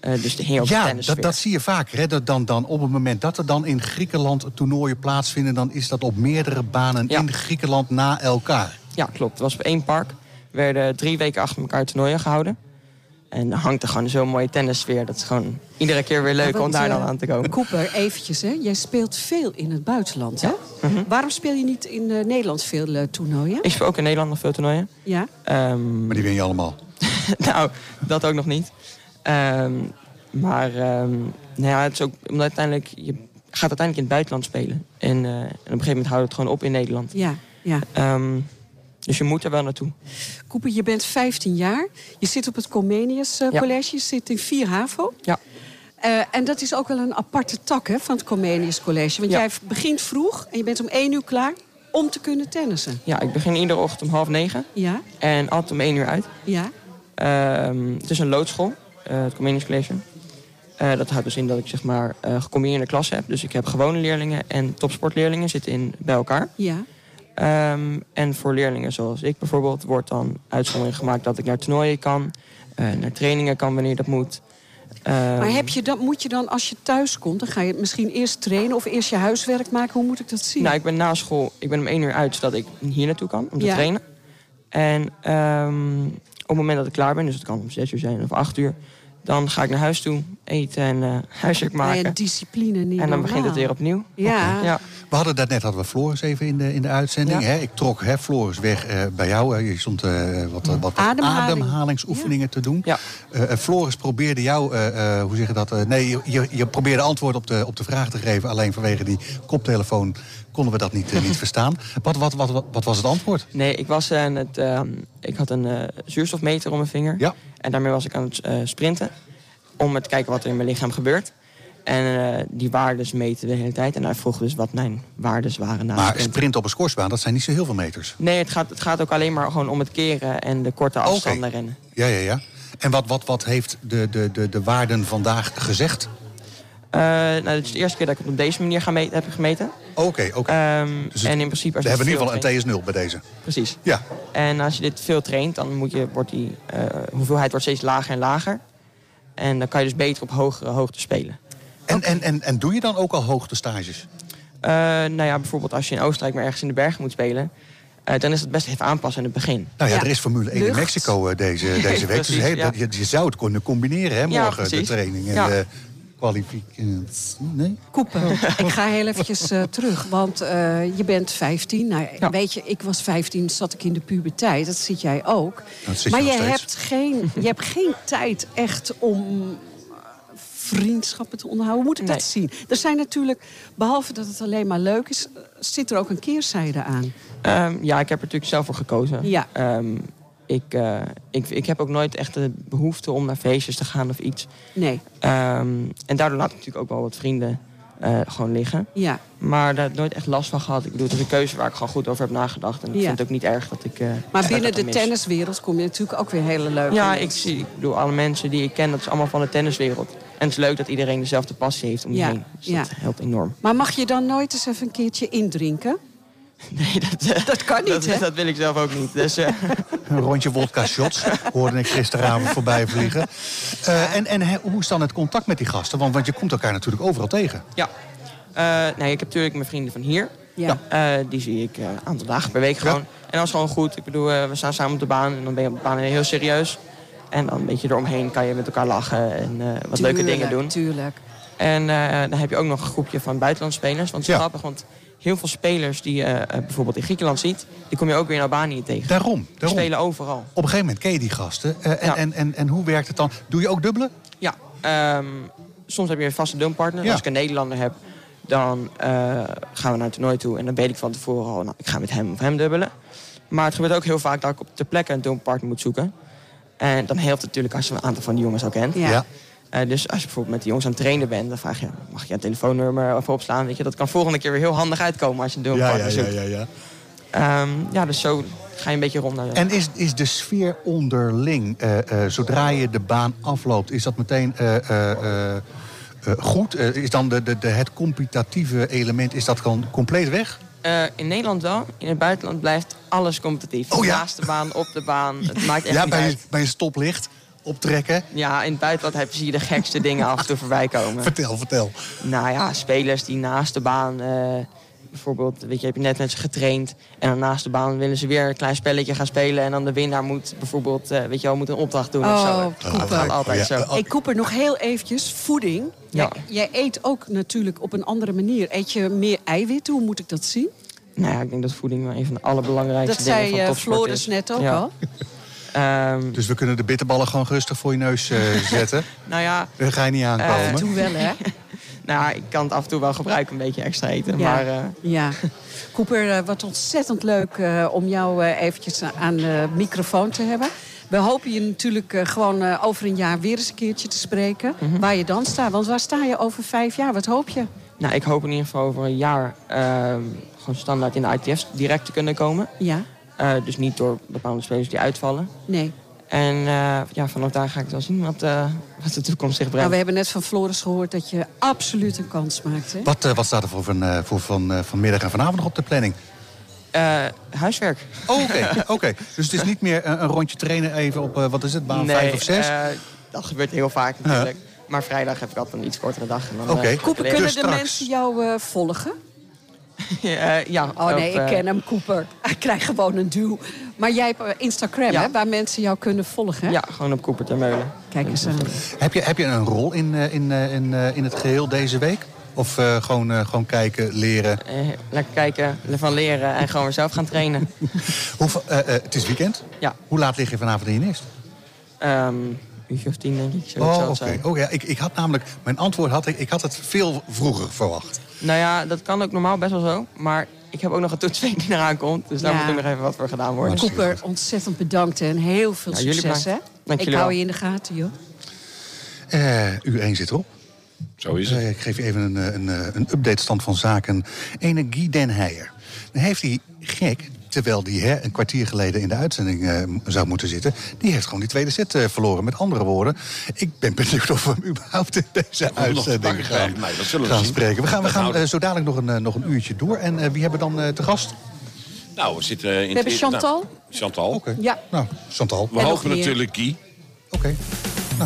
I: Eh, dus er hing ook
A: Ja,
I: tennis
A: dat,
I: weer.
A: dat zie je vaak. Hè? Dat dan, dan op het moment dat er dan in Griekenland toernooien plaatsvinden... dan is dat op meerdere banen
I: Ja.
A: in Griekenland na elkaar.
I: Ja, klopt. Het was op één park. Er werden drie weken achter elkaar toernooien gehouden. En dan hangt er gewoon zo'n mooie tennis weer. Dat is gewoon iedere keer weer leuk
B: Want,
I: om daar
B: eh,
I: dan aan te komen.
B: Cooper, eventjes, hè? jij speelt veel in het buitenland. Hè? Waarom speel je niet in eh, Nederland veel eh, toernooien?
I: Mhm. Ik speel ook in Nederland nog veel toernooien.
B: Ja?
I: Ehm,
A: Maar die win je allemaal.
I: nou, dat ook nog niet. Ehm, maar ehm, nou ja, het is ook omdat uiteindelijk je gaat uiteindelijk in het buitenland spelen. En, eh, en op een gegeven moment houdt het gewoon op in Nederland.
B: Ja, ja.
I: Ehm, dus je moet er wel naartoe.
B: Cooper, je bent 15 jaar. Je zit op het Comenius eh,
I: Ja.
B: College. Je zit in 4 HAVO.
I: Ja.
B: Eh, en dat is ook wel een aparte tak hè, van het Comenius College. Want
I: Ja.
B: jij begint vroeg en je bent om 1 uur klaar om te kunnen tennissen.
I: ja, ik begin iedere ochtend om half negen.
B: Ja,
I: En altijd om één uur uit.
B: ja.
I: Ehm, het is een loodschool, eh, het Comenius College. Eh, dat houdt dus in dat ik zeg maar eh, gecombineerde klassen heb. Dus ik heb gewone leerlingen en topsportleerlingen zitten in, bij elkaar.
B: ja.
I: Ehm, en voor leerlingen zoals ik bijvoorbeeld wordt dan uitzondering gemaakt dat ik naar toernooien kan, eh, naar trainingen kan wanneer dat moet. Ehm,
B: Maar heb je dan, moet je dan, als je thuis komt, dan ga je misschien eerst trainen of eerst je huiswerk maken? Hoe moet ik dat zien?
I: Nou, ik ben na school, ik ben om één uur uit zodat ik hier naartoe kan om te
B: Ja.
I: trainen. En ehm, op het moment dat ik klaar ben, dus het kan om zes uur zijn of acht uur, dan ga ik naar huis toe, eten en eh, huiswerk
B: Ah Ja,
I: maken.
B: ja, discipline niet.
I: en dan begint het
B: normaal.
I: weer opnieuw.
B: Ja.
I: Ja,
A: We hadden daarnet hadden we Floris even in de, in de uitzending.
I: Ja.
A: Hè? Ik trok hè, Floris weg eh, bij jou. Hè? Je stond eh, wat, eh, wat
B: Ademhaling.
A: ademhalingsoefeningen te doen.
I: Ja.
A: Eh, eh, Floris probeerde jou, eh, eh, hoe zeg je dat? eh, nee, je- je, je probeerde antwoord op de, op de vraag te geven. Alleen vanwege die koptelefoon konden we dat niet, eh, niet verstaan. Wat, wat, wat, wat, wat was het antwoord?
I: nee, ik was aan het, ehm, ik had een eh, zuurstofmeter om mijn vinger.
A: Ja.
I: En daarmee was ik aan het eh, sprinten. Om te kijken wat er in mijn lichaam gebeurt. En eh, die waardes meten de hele tijd. En hij vroeg dus wat mijn waardes waren na
A: Maar
I: het sprinten.
A: sprinten op een scoresbaan, dat zijn niet zo heel veel meters.
I: Nee, het gaat, het gaat ook alleen maar gewoon om het keren en de korte
A: Oké.
I: afstanden rennen.
A: Ja, ja, ja. En wat, wat, wat heeft de, de, de, de waarden vandaag gezegd?
I: Eh, nou, dit is de eerste keer dat ik het op deze manier ga meten, heb gemeten.
A: Oké, oké.
I: Ehm,
A: Dus het-
I: en in principe... Als
A: We
I: je
A: hebben in
I: veel
A: ieder geval een TS0 bij deze.
I: traint- Precies.
A: Ja,
I: En als je dit veel traint, dan moet je, wordt die eh, hoeveelheid wordt steeds lager en lager. En dan kan je dus beter op hogere hoogte spelen.
A: en, en, en, en doe je dan ook al hoogtestages?
I: Eh, nou ja, bijvoorbeeld als je in Oostenrijk maar ergens in de bergen moet spelen... eh, dan is het best even aanpassen in het begin.
A: Nou ja,
B: Ja.
A: er is Formule 1 in
B: Lucht.
A: Mexico eh, deze, deze week.
I: precies,
A: dus hè,
I: ja.
A: dat, je, je zou het kunnen combineren, hè,
I: Ja,
A: morgen, de
I: precies.
A: training en
I: Ja.
A: de kwalificatie. Nee?
B: Koepen, ik ga heel eventjes eh, terug, want eh, je bent 15. Nou,
I: Ja.
B: Weet je, ik was 15, zat ik in de puberteit. Dat zit jij ook.
A: Dat zit je
B: maar
A: nog
B: je
A: steeds.
B: hebt, geen, je hebt geen tijd echt om eh, vriendschappen te onderhouden. Hoe moet ik
I: Nee.
B: dat zien? Er zijn natuurlijk, behalve dat het alleen maar leuk is... eh, zit er ook een keerzijde aan.
I: Ehm, ja, ik heb er natuurlijk zelf voor gekozen.
B: Ja.
I: Ehm, ik, eh, ik, ik heb ook nooit echt de behoefte om naar feestjes te gaan of iets.
B: Nee,
I: Ehm, en daardoor laat ik natuurlijk ook wel wat vrienden eh, gewoon liggen.
B: ja.
I: Maar daar heb ik nooit echt last van gehad. Ik bedoel, het is een keuze waar ik gewoon goed over heb nagedacht. En ik
B: Ja.
I: vind het ook niet erg dat ik... eh, dat
B: Maar
I: ik
B: binnen
I: dat
B: de
I: mis.
B: tenniswereld kom je natuurlijk ook weer hele leuke
I: Ja,
B: mensen.
I: ik, zie, ik bedoel, alle mensen die ik ken, dat is allemaal van de tenniswereld. En het is leuk dat iedereen dezelfde passie heeft om je
B: Ja,
I: heen. Dus
B: ja.
I: dat helpt enorm.
B: Maar mag je dan nooit eens even een keertje indrinken?
I: Nee, dat, eh,
B: Dat kan niet,
I: dat,
B: hè?
I: dat wil ik zelf ook niet. Dus, eh,
A: Een rondje vodka shots hoorde ik gisteravond voorbij vliegen. Eh, en en hè, hoe is dan het contact met die gasten? Want, want je komt elkaar natuurlijk overal tegen.
I: Ja. Eh, nee, ik heb natuurlijk mijn vrienden van hier.
B: Ja.
I: Eh, die zie ik eh, een aantal dagen per week gewoon. En dat is gewoon goed. Ik bedoel, eh, we staan samen op de baan. En dan ben je op de baan weer heel serieus. En dan een beetje eromheen kan je met elkaar lachen. En eh, wat leuke dingen
B: Tuurlijk,
I: doen.
B: Tuurlijk.
I: En eh, dan heb je ook nog een groepje van buitenlandspelers. Want het is
A: Ja.
I: grappig, want heel veel spelers die je eh, bijvoorbeeld in Griekenland ziet... die kom je ook weer in Albanië tegen.
A: Daarom,
I: Die
A: daarom.
I: spelen overal.
A: Op een gegeven moment ken je die gasten. Eh, en,
I: Ja.
A: en, en, en hoe werkt het dan? Doe je ook dubbelen?
I: Ja, ehm, soms heb je een vaste doelpartner.
A: Ja.
I: Als ik een Nederlander heb, dan eh, gaan we naar het toernooi toe. En dan weet ik van tevoren al, nou, ik ga met hem of hem dubbelen. Maar het gebeurt ook heel vaak dat ik op de plekke een doelpartner moet zoeken. En dan helpt het natuurlijk als je een aantal van die jongens al kent.
B: Ja.
I: Eh, dus als je bijvoorbeeld met die jongens aan het trainen bent, dan vraag je, mag je een telefoonnummer even opslaan? Weet je, dat kan volgende keer weer heel handig uitkomen als je een
A: Ja,
I: doelpartner
A: ja, ja,
I: zoekt.
A: ja, ja.
I: Ehm, ja, dus zo ga je een beetje rond naar de...
A: En is, is de sfeer onderling, eh, eh, zodra je de baan afloopt, is dat meteen eh, eh, eh, eh, goed? Eh, is dan de, de, de, het competitieve element, is dat gewoon compleet weg?
I: Eh, in Nederland wel. In het buitenland blijft alles competitief.
A: Oh ja.
I: Naast de baan, op de baan. Het maakt echt
A: ja,
I: niet
A: bij,
I: uit.
A: bij een stoplicht, optrekken.
I: Ja, in het buitenland heb, zie je de gekste dingen af en toe voorbij komen.
A: Vertel, vertel.
I: Nou ja, spelers die naast de baan... eh, bijvoorbeeld, weet je, heb je net met ze getraind... en dan naast de baan willen ze weer een klein spelletje gaan spelen... en dan de winnaar moet bijvoorbeeld, eh, weet je wel, moet een opdracht doen of
B: Oh,
I: zo. Dat
B: Cooper.
I: gaat altijd
A: Ja,
I: zo.
A: eh,
B: Ik koep er nog heel eventjes voeding.
I: Ja.
B: Jij, jij eet ook natuurlijk op een andere manier. Eet je meer eiwitten? Hoe moet ik dat zien?
I: Nou ja, ik denk dat voeding wel een van de allerbelangrijkste
B: dat
I: dingen
B: zei
I: van
B: eh,
I: topsport
B: Floris
I: is.
B: net ook
I: Ja.
B: al.
I: Ehm,
A: Dus we kunnen de bitterballen gewoon rustig voor je neus eh, zetten.
I: nou ja,
A: Daar ga je niet
B: Af en
A: aankomen.
B: toe wel, hè?
I: nou, ja, ik kan het af en toe wel gebruiken, een beetje extra eten.
B: Ja.
I: Maar eh,
B: ja. Cooper, eh, wat ontzettend leuk eh, om jou eh, eventjes aan de microfoon te hebben. We hopen je natuurlijk eh, gewoon eh, over een jaar weer eens een keertje te spreken.
I: Mhm.
B: Waar je dan staat. Want waar sta je over vijf jaar? Wat hoop je?
I: nou, ik hoop in ieder geval over een jaar... ehm, gewoon standaard in de ITF's direct te kunnen komen.
B: Ja?
I: Eh, dus niet door bepaalde spelers die uitvallen.
B: Nee. Nou,
I: En eh, ja, vanaf daar ga ik wel zien wat, eh, wat de toekomst zich
B: Nou,
I: brengt.
B: we hebben net van Floris gehoord dat je absoluut een kans maakt. Hè?
A: Wat, eh, wat staat er voor, van, eh, voor van, eh, vanmiddag en vanavond nog op de planning?
I: Eh, huiswerk.
A: Oh, Oké, oké. dus het is niet meer een, een rondje trainen even op, eh, wat is het, baan vijf of zes?
I: eh, dat gebeurt heel vaak natuurlijk. Maar vrijdag heb ik altijd een iets kortere dag. en dan, eh,
A: Oké.
I: heb ik
A: Koepen,
B: Cooper,
I: alleen-
B: kunnen
A: Dus
B: de
A: straks.
B: mensen jou eh, volgen?
I: Eh, ja,
B: Oh nee, ik ken
I: hem.
B: hem, Cooper. Hij krijgt gewoon een duw. Maar jij hebt eh, Instagram,
I: Ja.
B: hè, waar mensen jou kunnen volgen. Hè?
I: Ja, gewoon op Koepert en Meulen.
B: Kijk eens aan.
A: Heb, je, heb je een rol in, eh, in, eh, in, eh, in het geheel deze week? Of eh, gewoon, eh, gewoon kijken, leren?
I: Eh, lekker kijken, ervan leren en gewoon weer zelf gaan trainen.
A: Hoeveel- eh, eh, het is weekend.
I: Ja.
A: Hoe laat lig je vanavond in je nest?
I: Ehm uurtje of tien denk ik. Zoiets zal
A: Oh,
I: het
A: oké.
I: zijn.
A: Oh, ja, ik, ik had namelijk, mijn antwoord had ik, ik had het veel vroeger verwacht.
I: Nou ja, dat kan ook normaal best wel zo. Maar ik heb ook nog een toetsweek die eraan komt. Dus daar
B: Ja.
I: moet ook nog even wat voor gedaan worden.
A: Maar-
B: Cooper, ontzettend bedankt hè, en heel veel
I: Ja, jullie
B: succes. Hè?
I: bedankt. Dank
B: ik
I: jullie
B: hou
I: wel.
B: je in de gaten, joh.
A: Eh uur 1 zit erop.
C: Zo is
A: Eh,
C: het.
A: ik geef je even een, eh, een, eh, een update stand van zaken. Ene Guy Den Heijer. Dan heeft hij gek terwijl die hè, een kwartier geleden in de uitzending eh, m- zou moeten zitten... die heeft gewoon die tweede set eh, verloren. Met andere woorden, ik ben benieuwd of we hem überhaupt in deze
C: we hem nog te
A: uitzending
C: pakken
A: gaan,
C: krijgen. Nee, dat zullen we
A: gaan
C: zien.
A: spreken. We gaan, we
C: Dat
A: gaan
C: houden.
A: eh, zo dadelijk nog een, eh, nog een uurtje door. En eh, wie hebben we dan eh, te gast?
C: Nou, we zitten eh, in...
B: hebben
C: het- nou,
B: Chantal.
C: Chantal.
A: Oké.
B: Ja.
A: Nou, Chantal.
C: We
A: Oké.
B: En nog
C: hopen
B: meer.
C: natuurlijk Guy.
A: Nou,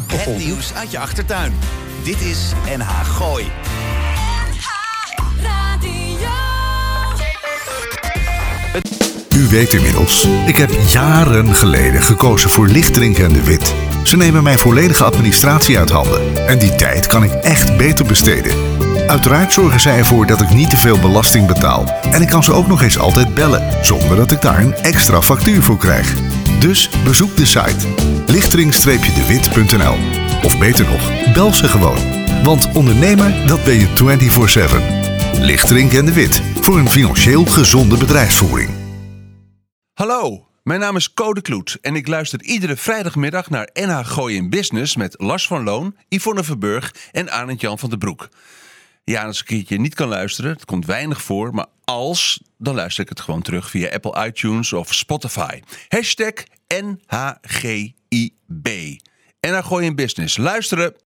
A: tot
D: Het
A: volgende.
D: nieuws uit je achtertuin. Dit is NH Gooi.
J: U weet inmiddels, ik heb jaren geleden gekozen voor lichtdrinkende wit. Ze nemen mijn volledige administratie uit handen en die tijd kan ik echt beter besteden. Uiteraard zorgen zij ervoor dat ik niet te veel belasting betaal en ik kan ze ook nog eens altijd bellen zonder dat ik daar een extra factuur voor krijg. Dus bezoek de site lichtering-dewit.nl of beter nog, bel ze gewoon. Want ondernemer, dat ben je 24/7. Lichtering en de Wit voor een financieel gezonde bedrijfsvoering.
K: Hallo, mijn naam is Code Kloet en ik luister iedere vrijdagmiddag naar NH Gooi in Business met Lars van Loon, Yvonne Verburg en Arend Jan van den Broek. Ja, en als ik een keertje niet kan luisteren, het komt weinig voor, maar als, dan luister ik het gewoon terug via Apple iTunes of Spotify. Hashtag NHGIB. NH Gooi in Business. Luisteren!